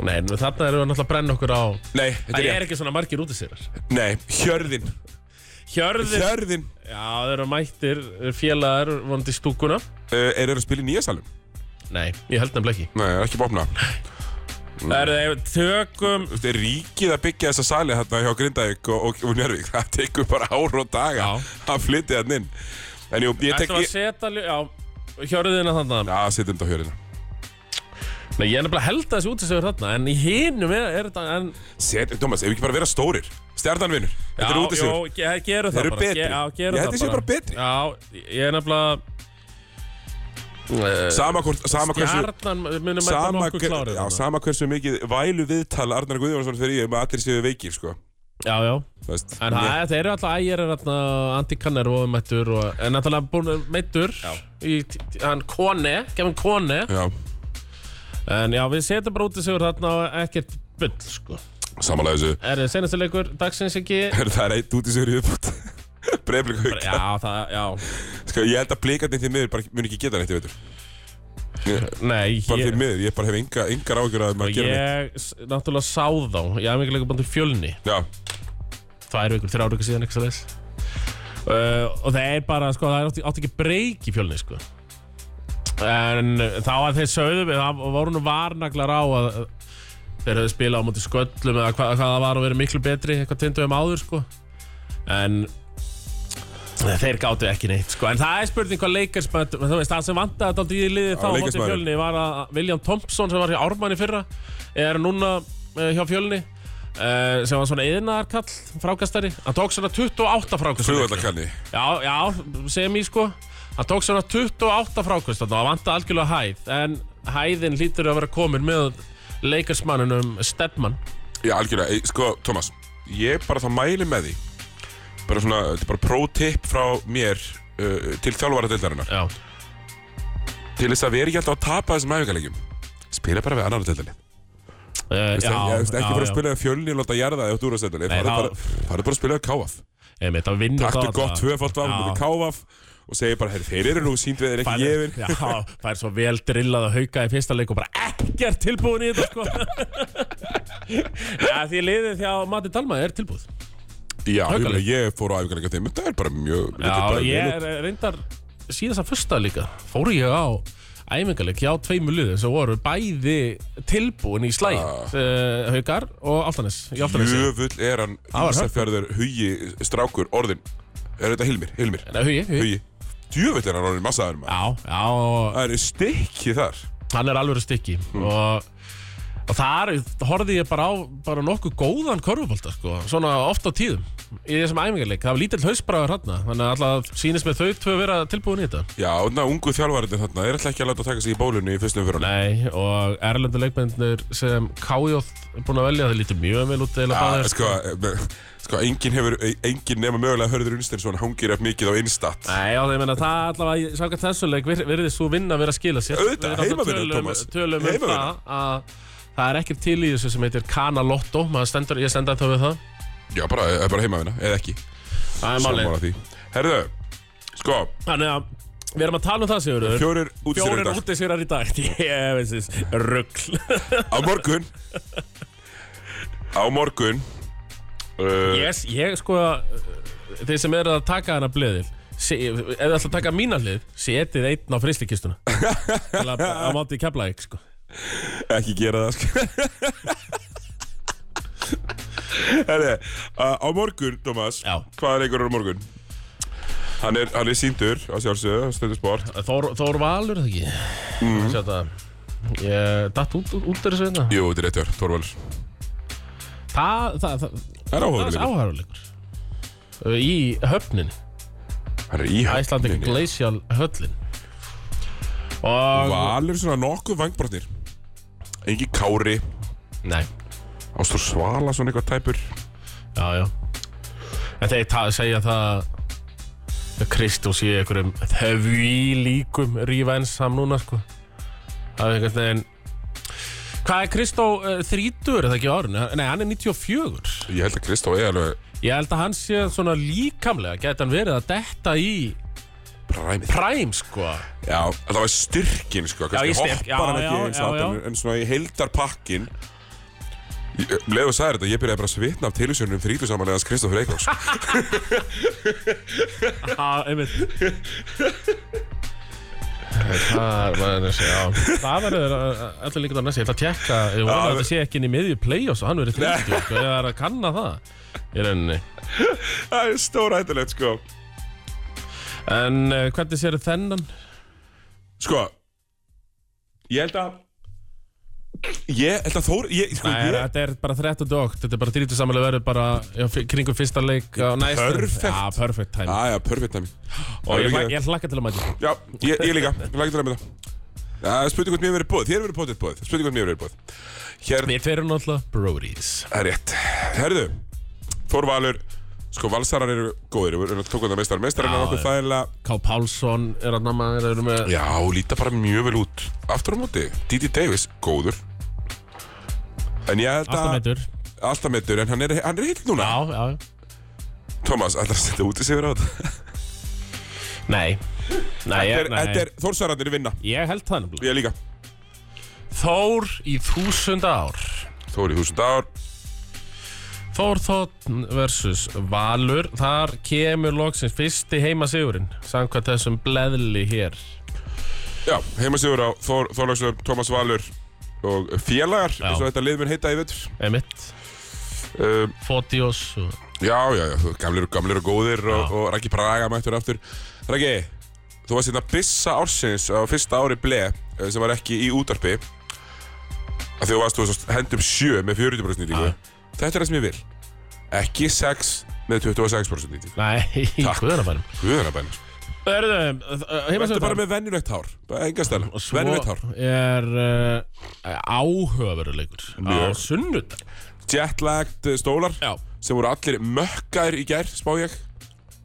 Nei, en þarna erum við náttúrulega að brenna okkur á nei, Það þetta er, er ekki svona margir útisýrar ég nei, hjörðin Hjörðir hjörðin Já, þeir eru mættir félagar vonandi í stúkuna uh, er það að spila í nýja salum Nei, ég held nefnilega ekki nei, er ekki bófna Það eru þeir tökum Þú veist, er ríkið að byggja þessa sali hérna hjá Grindavík og, og, og Njörvík [laughs] það tekur bara ár og daga Já. að flytja hérna inn en jú, ég tek Ætlum að ég, setja ljó- Já, hjörðina þarna Já, setjum þetta á hjörðina Nei, ég er nefnilega held að þessi útisýrar þarna En í hinum er, er þetta en, Set, Thomas, ef við ekki bara vera stórir Stjarnanvinnur, þetta er Já, út í sig jú, ge- gerum það Þeir eru bara betri. Ge- Já, gerum Ég held það þeir séu bara betri. Já, ég er nefnilega Eh, Sama hvort, sama hversu Stjarnan munum mæta Sama, nokkuð klárið já, þarna. sama hversu mikið vælu viðtal Arnar Guðjónsson fyrir ég um að allir séu veikir sko. Já, já Þú veist, En það það eru alltaf ægir er alltaf Andy Kanner og meittur og en náttúrulega búin meittur í t- t- hann Kone, gefum Kone Já, en já við setjum bara út í sigur þarna og ekkert bull sko. samanlega þessu [laughs] Er það senastu leikur dagsins ekki? Það er eitt út í sig í uppbútt [laughs] Breiðblik hauk Já það, já Sko, ég held að blikarnir því miður bara mun ekki geta neitt, ég veitur Nei, Bara því ég, Sko, miður, ég bara hef enga, engar ágjör að maður gera neitt ég s- náttúrulega sá þá ég hef mikið leikur búin til fjölni Já, tvær vikur, þrjár vikur síðan eitthvað leis Uh, og það er bara, sko, það er átti, átti ekki breyk í fjölni, sko en uh, þá að þeir sögðu mig, það voru nú varnaglar á að uh, þeir höfðu spilað á móti sköllum eða hva, hvað það var að vera miklu betri eitthvað tinduðum áður, sko en eh, þeir gáttu ekki neitt, sko en það er spurning hvað leikarsmönd þú veist, það sem vantaði þetta í liðið þá á móti leikarsmaður. fjölni var að William Thompson sem var hjá Ármann í fyrra er núna uh, hjá fjölni Uh, sem var svona yðnaðarkall, frákastari hann tók svona 28 frákastari flugvallakanni Já, já, segjum ég sko Hann tók svona 28 frákvist og það vantaði algjörlega hæð En hæðin hlýtur að vera komin með leikarsmanninum Stedman Já, algjörlega, Ei, sko, Thomas Ég bara þá mæli með því Bara svona, þetta er bara pro-tip frá mér uh, Til þjálfara deildarinnar Já, Til þess að við erum ekki alltaf að tapa þessum æfingarleikjum Spila bara við annar deildarinn uh, já, Ekki bara að já. spila við fjölni og láta jarða þig út úr að deildarinn Nei, Það er þá- bara það er bara að spila við káaf Einmitt, það vinnur Taktu það gott alla. tvöfald af með káaf Og segir bara, heyr, þeir eru nú sínd við þeir Fær- ekki gefin Já, það er svo vel drillað að hauka í fyrsta leik og bara ekkert tilbúin í þetta [laughs] sko Já, því liðið því að Mati Dalma er tilbúið Já, ég, meina, Haukaleik. ég fór á æfingarleika þeim Það er bara mjög lítið Já, bara ég vel út. er reyndar síðast að fyrsta líka fór ég á æfingarleik hjá tveimu liðið sem voru bæði tilbúin í slægin uh, Haukar og Altanes í Altanesi Jöfull er hann var Ísafjörður, Hugi, Strákur, Orðin Er þetta Hilmir? Hilmir? Nei, Hugi, Hugi Hugi Djöfull er hann orðin massaður maður Já, já, og Það er stikki þar hann er alveg stikki og, og þar horfði ég bara á bara nokkuð góðan körfubólta sko, svona oft á tíðum í þessum æfingarleik, það var lítill hausbraður hann þannig að alltaf sýnist með þau tvö að vera tilbúin í þetta Já, og þannig að ungu þjálfvarðin þarna er alltaf ekki að láta taka sig í bólunni í fyrstum fyrir Nei, og erlendu leikmennir sem Kájóð er búin að velja það lítur mjög vel út eða hann báðir Sko, eh, sko engin hefur Engin nema mögulega hörður Unsteinsson hangir upp mikið á innstatt Nei, já, ég meina það allavega, samkvæmt þessu leik vir- virðist svo vinna að vera að skila sér Auðvitað, Við náttúrulega heimavinna, tölum- Tómas. Tölum um Heimavinna. það að það er ekkert til í þessu sem heitir Kana Lotto, maður stendur, ég stend ennþá við það Já, bara, eh, bara heimavina, eða ekki Það er málið Sammála því Herðu, sko, Þannig að við erum að tala um það, Sigurður fjórir útstýrur Fjórir dag úti Sigurður í dag [laughs] Ég veist þess, ruggl Á [laughs] morgun Á morgun uh, Yes, ég sko uh, Þeir sem eru að taka hana bleðil Se, ef þið ætla að taka mína hlið setið einn á [laughs] fristikistuna til að á mátu í keflaðið sko. Ekki gera það sko Herri, uh, á morgun, Thomas Já. Hvaða leikur er á morgun? Hann er, hann er síndur á sjálfsögðu, á stundu sport Þór, Þór Valur er það ekki mm. þetta, ég datt út, út, út úr þessu hérna. Mhm. Jú, þetta er réttjör, Þorvalur það, það, það, Það er það er áhugaverður áhæruleikur í höfninni Hann er í Æslandi höfninni. Glacial höllin og Valur svona nokkuð vangbrotnir Engi Kári nei, Ástur Svala svona eitthvað tæpur Já, já En þeir ta- segja það að Kristjón sé einhverjum þöfví líkum rífensam núna sko Það er einhvern veginn Hvað er Kristó uh, 30 er það ekki á árinu? Nei, hann er 94 Ég held að Kristó er alveg Ég held að hann sé svona líkamlega Gæti hann verið að detta í præmið præm sko Já, það var styrkin sko kannski í styrk, já, hoppar hann ekki já, eins já, og já. allan, En svona í heildarpakkin Leðu sagði þetta, ég byrjaði bara að svitna af um tilhjóðsjónum þrítu samanlegans Kristoffer Eikváks [laughs] Já, einmitt Það var Það verður allir líka á næst Ég ætla að tjekka Ég vona að við- þetta sé ekki inn í miðju play-offs og hann verður 30 sko. Ég er að kanna það í rauninni Það er stóra hættulegt sko En uh, hvernig séu þennan? Sko Ég held að Ég held að Þór ég, sko, Nei, ég, þetta er bara 30 dókt Þetta er bara 30 samanlega verður bara já, f- kringum fyrsta leik á næstu Perfect. Já, perfect time Æja, perfect time Og ég, líka- hla- ég hlakka til að mæta Já, ég, ég líka, ég lagði til að með það Það er spurning hvort mér verið bóð, þér verið bóðið bóð Spurning hvort mér verið Hérna- bóð Hér, Við tverum náttúrulega brodies það er rétt Herðu, Þór Valur Sko, valsarar eru góðir, við erum tókuð það meistar Meistarinn er Já, okkur já. þægilega Ká Pálsson er að namma þeir eru með Já, líta bara mjög vel út Aftur á móti, Didi Davis, góður En ég held Alltaf að meitur Alltaf meittur, en hann er, hann er heill núna Já, já, já Thomas, ætlar að setja út í sig á þetta Nei Nei, Þetta ég, er- Þetta nei. er Þórsararnir vinna ég held það nefnilega Ég líka Þór í þúsunda ár Þóri þúsund ár Þór Þóttn versus Valur Þar kemur loksins fyrsti heima sigurinn Samkvæmt þessum bleðli hér Já, heimasíður á Þór, Þorlagsum, Thomas Valur og félagar Já. eins og þetta lið mun heita í vettur Emitt um, Fótiós og... Já, já, já, þú- gamlir, og- gamlir og góðir og, og Raki Braga mættur aftur Raki, þú varst hérna byssa ársins á fyrsta ári ble eh, sem var ekki í útarpi að þú varst, þú varst hendum 7 með 40% nýtingu Þetta er það sem ég vil ekki 6 með 26% nýtingu Nei, [laughs] Takk. guðanabænum Guðanabænir Erðu, Þetta er bara heimasöndar með venjulegt hár Bara enga stæla Og svo Venjulegt hár er uh, áhugaveruleikur á Mjög. sunnudag Jetlagt stólar Já, Sem voru allir mökkaðir í gær Spá ég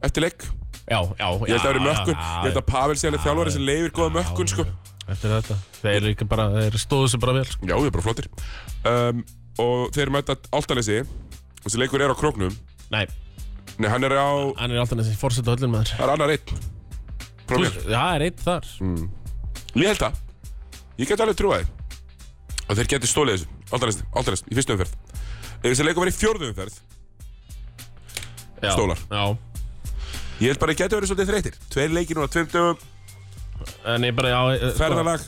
Eftir leik já, já Ég held að það eru já, mökkun já, Ég held að Pavel sé alveg þjálfari sem leifir góða mökkun sko Eftir þetta Þeir, líka bara, þeir stóðu sér bara vel sko. Já, ég er bara flottir um, Og þeir mæta Altanesi Þessi leikur er á króknum Nei, Nei, hann er á hann er alltaf þessi fórseta höllin með Það er annar einn þér Prófér Það er eitt þar Mm. Ég held það Ég get alveg trúa þið Að þeir geti stólið þessu Altanesi Altanesi Í fyrstu umferð Ef þessi leikur verið í fjórðu umferð já, Stólar. Já, Ég held bara að geti verið svolítið þreytir Tveir leikir núna Tveim dögum en ég bara já, eh, sko, Ferðalag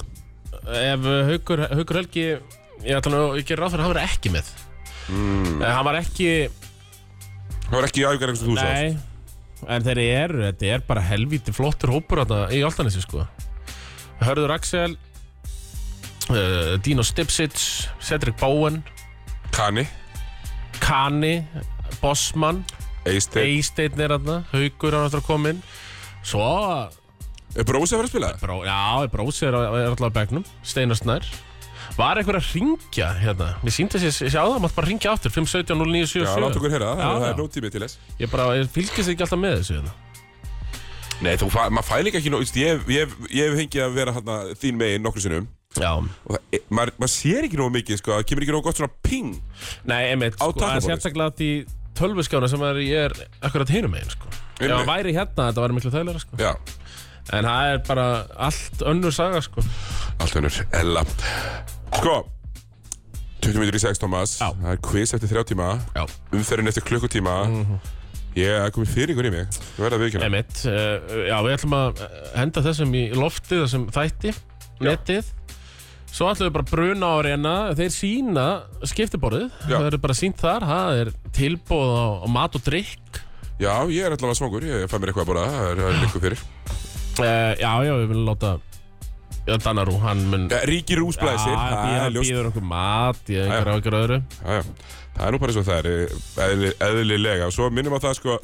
Ef eh, Haukur, Haukur Helgi Ég ætla nú, ég gerir ráð fyrir að hann var ekki með mm. Hann var ekki Það var ekki í æfingar eins og þú sást Nei, en þeir eru, þetta er bara helvíti flottur hópur þarna í Altanesi sko. Hörður Axel, uh, Dino Stipsic, Cedric Bowen, Kani Kani, Bossmann, Eisteinn Eysteinn er þarna, Haugur er náttúrulega kominn. Svo, Er Brósi að fara að spila? bró, já, Brósi er, á- er alltaf á begnum, Steinar Snær. Var einhver að ringja hérna? Mér síndi að ég ég sjá það, maður bara ringja aftur, 517 Já, láta 0977. okkur heyra það Já, Það já. er nóg tími til þess Ég bara, ég fylgist ekki alltaf með þessu hérna. Nei, þú, fa- maður fælir ekki nóg þú veist, Ég ég hef ég hef fengið að vera hana, þín megin nokkru sinnum Já. og það, e- maður, maður sér ekki nógu mikið sko, það kemur ekki nógu gott svona ping Nei, einmitt, Á sko, það er takkaborðið. sérstaklega að í tölvuskjána sem er, ég er akkurat hinum megin, sko. Ef Einmitt. hann væri hérna, þetta væri miklu þægilega, sko. Já, En það er bara allt önnur saga, sko. allt önnur, Ella Sko 20 minnur í 6, Thomas Já. Það er quiz eftir 3 tíma Já. Umferðin eftir klukkutíma Ég er komin fyrir ykkur í mig Þú verður að viðkjöna Mhm. Einmitt, uh, já, við ætlum að eh, henda þessum í loftið, þessum þætti, netið. Svo ætlum við bara að bruna á reyna, þeir sína skiptiborðið. Já. Það eru bara sínt þar, það er tilbúð á, á mat og drikk. Já, ég er allavega svangur, ég fæ mér eitthvað að borða Það er- það er líka fyrir Uh, já, já, við viljum láta Já, Danarú, hann mun... Ja, Ríki rúsblæsir, það er býður, ljóst býður okkur mat í einhverju já. á einhverju öðru. Já, já. Það er nú bara svo það er eh, eðli, eðlilega og svo minnum á það sko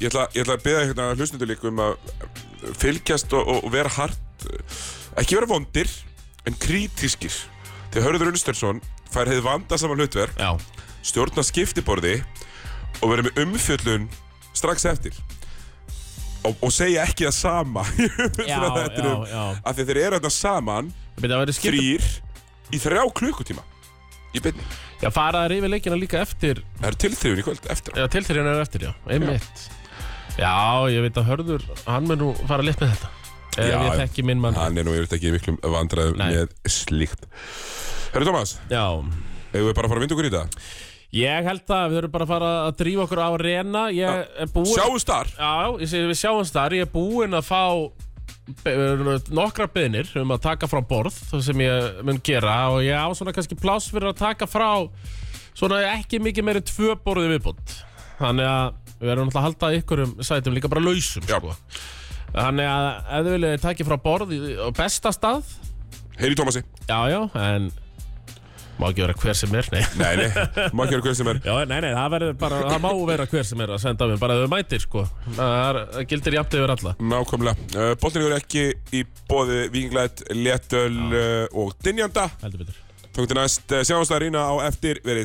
ég ætla, ég ætla að beða hérna hlustundu líka um að fylgjast og, og vera hart eh, ekki vera vondir en krítískir þegar Hörður Unstersson fær hefði vanda saman hlutverk Já, stjórna skiptiborði og vera með umfjöllun strax eftir og, og segja ekki það sama [laughs] í umfjöllunarþættinum, já, já. um- af því þeir eru þarna saman Byrja, það verður skiptum þrýr í þrjá klukkutíma í byrni Já, fara þær yfir leikina líka eftir Það er tilþrifin í kvöld eftir á. Já, til þeirra er eftir, já, einmitt Já, ég veit að Hörður, hann mun nú fara létt með þetta Ef Já, ég já. þekki minn mann Hann er nú yfirleitt ekki í miklum vandræðum Nei. með slíkt Herru Tómas, Já eigum við bara að fara að vinda okkur í þetta? Ég held að við þurfum bara að fara að drífa okkur á reyna Ég er búinn Sjáumst þar! Já, ég segi við sjáumst þar Ég er búinn að fá be- nokkra byrnir um að taka frá borð sem ég mun gera og ég á svona kannski pláss fyrir að taka frá svona ekki mikið meiri tvö borðið viðbútt þannig að við erum náttúrulega að halda ykkur um sætum líka bara lausum Já. sko. þannig að ef þið viljið taka frá borð í- á besta stað Heyri Tómasi já já en má ekki vera hver sem er nei Nei, nei, má ekki vera hver sem er Já, nei, nei, það, verður bara, það má vera hver sem er að senda mér, bara ef þau mætir, sko. Það er- það gildir jafnt yfir alla. Nákvæmlega, uh, boltin eru ekki í bóði Vínglætt, Léttöl uh, og Dynjanda Heldur betur. Tókti næst, uh, sjáumst þar rýna á eftir verið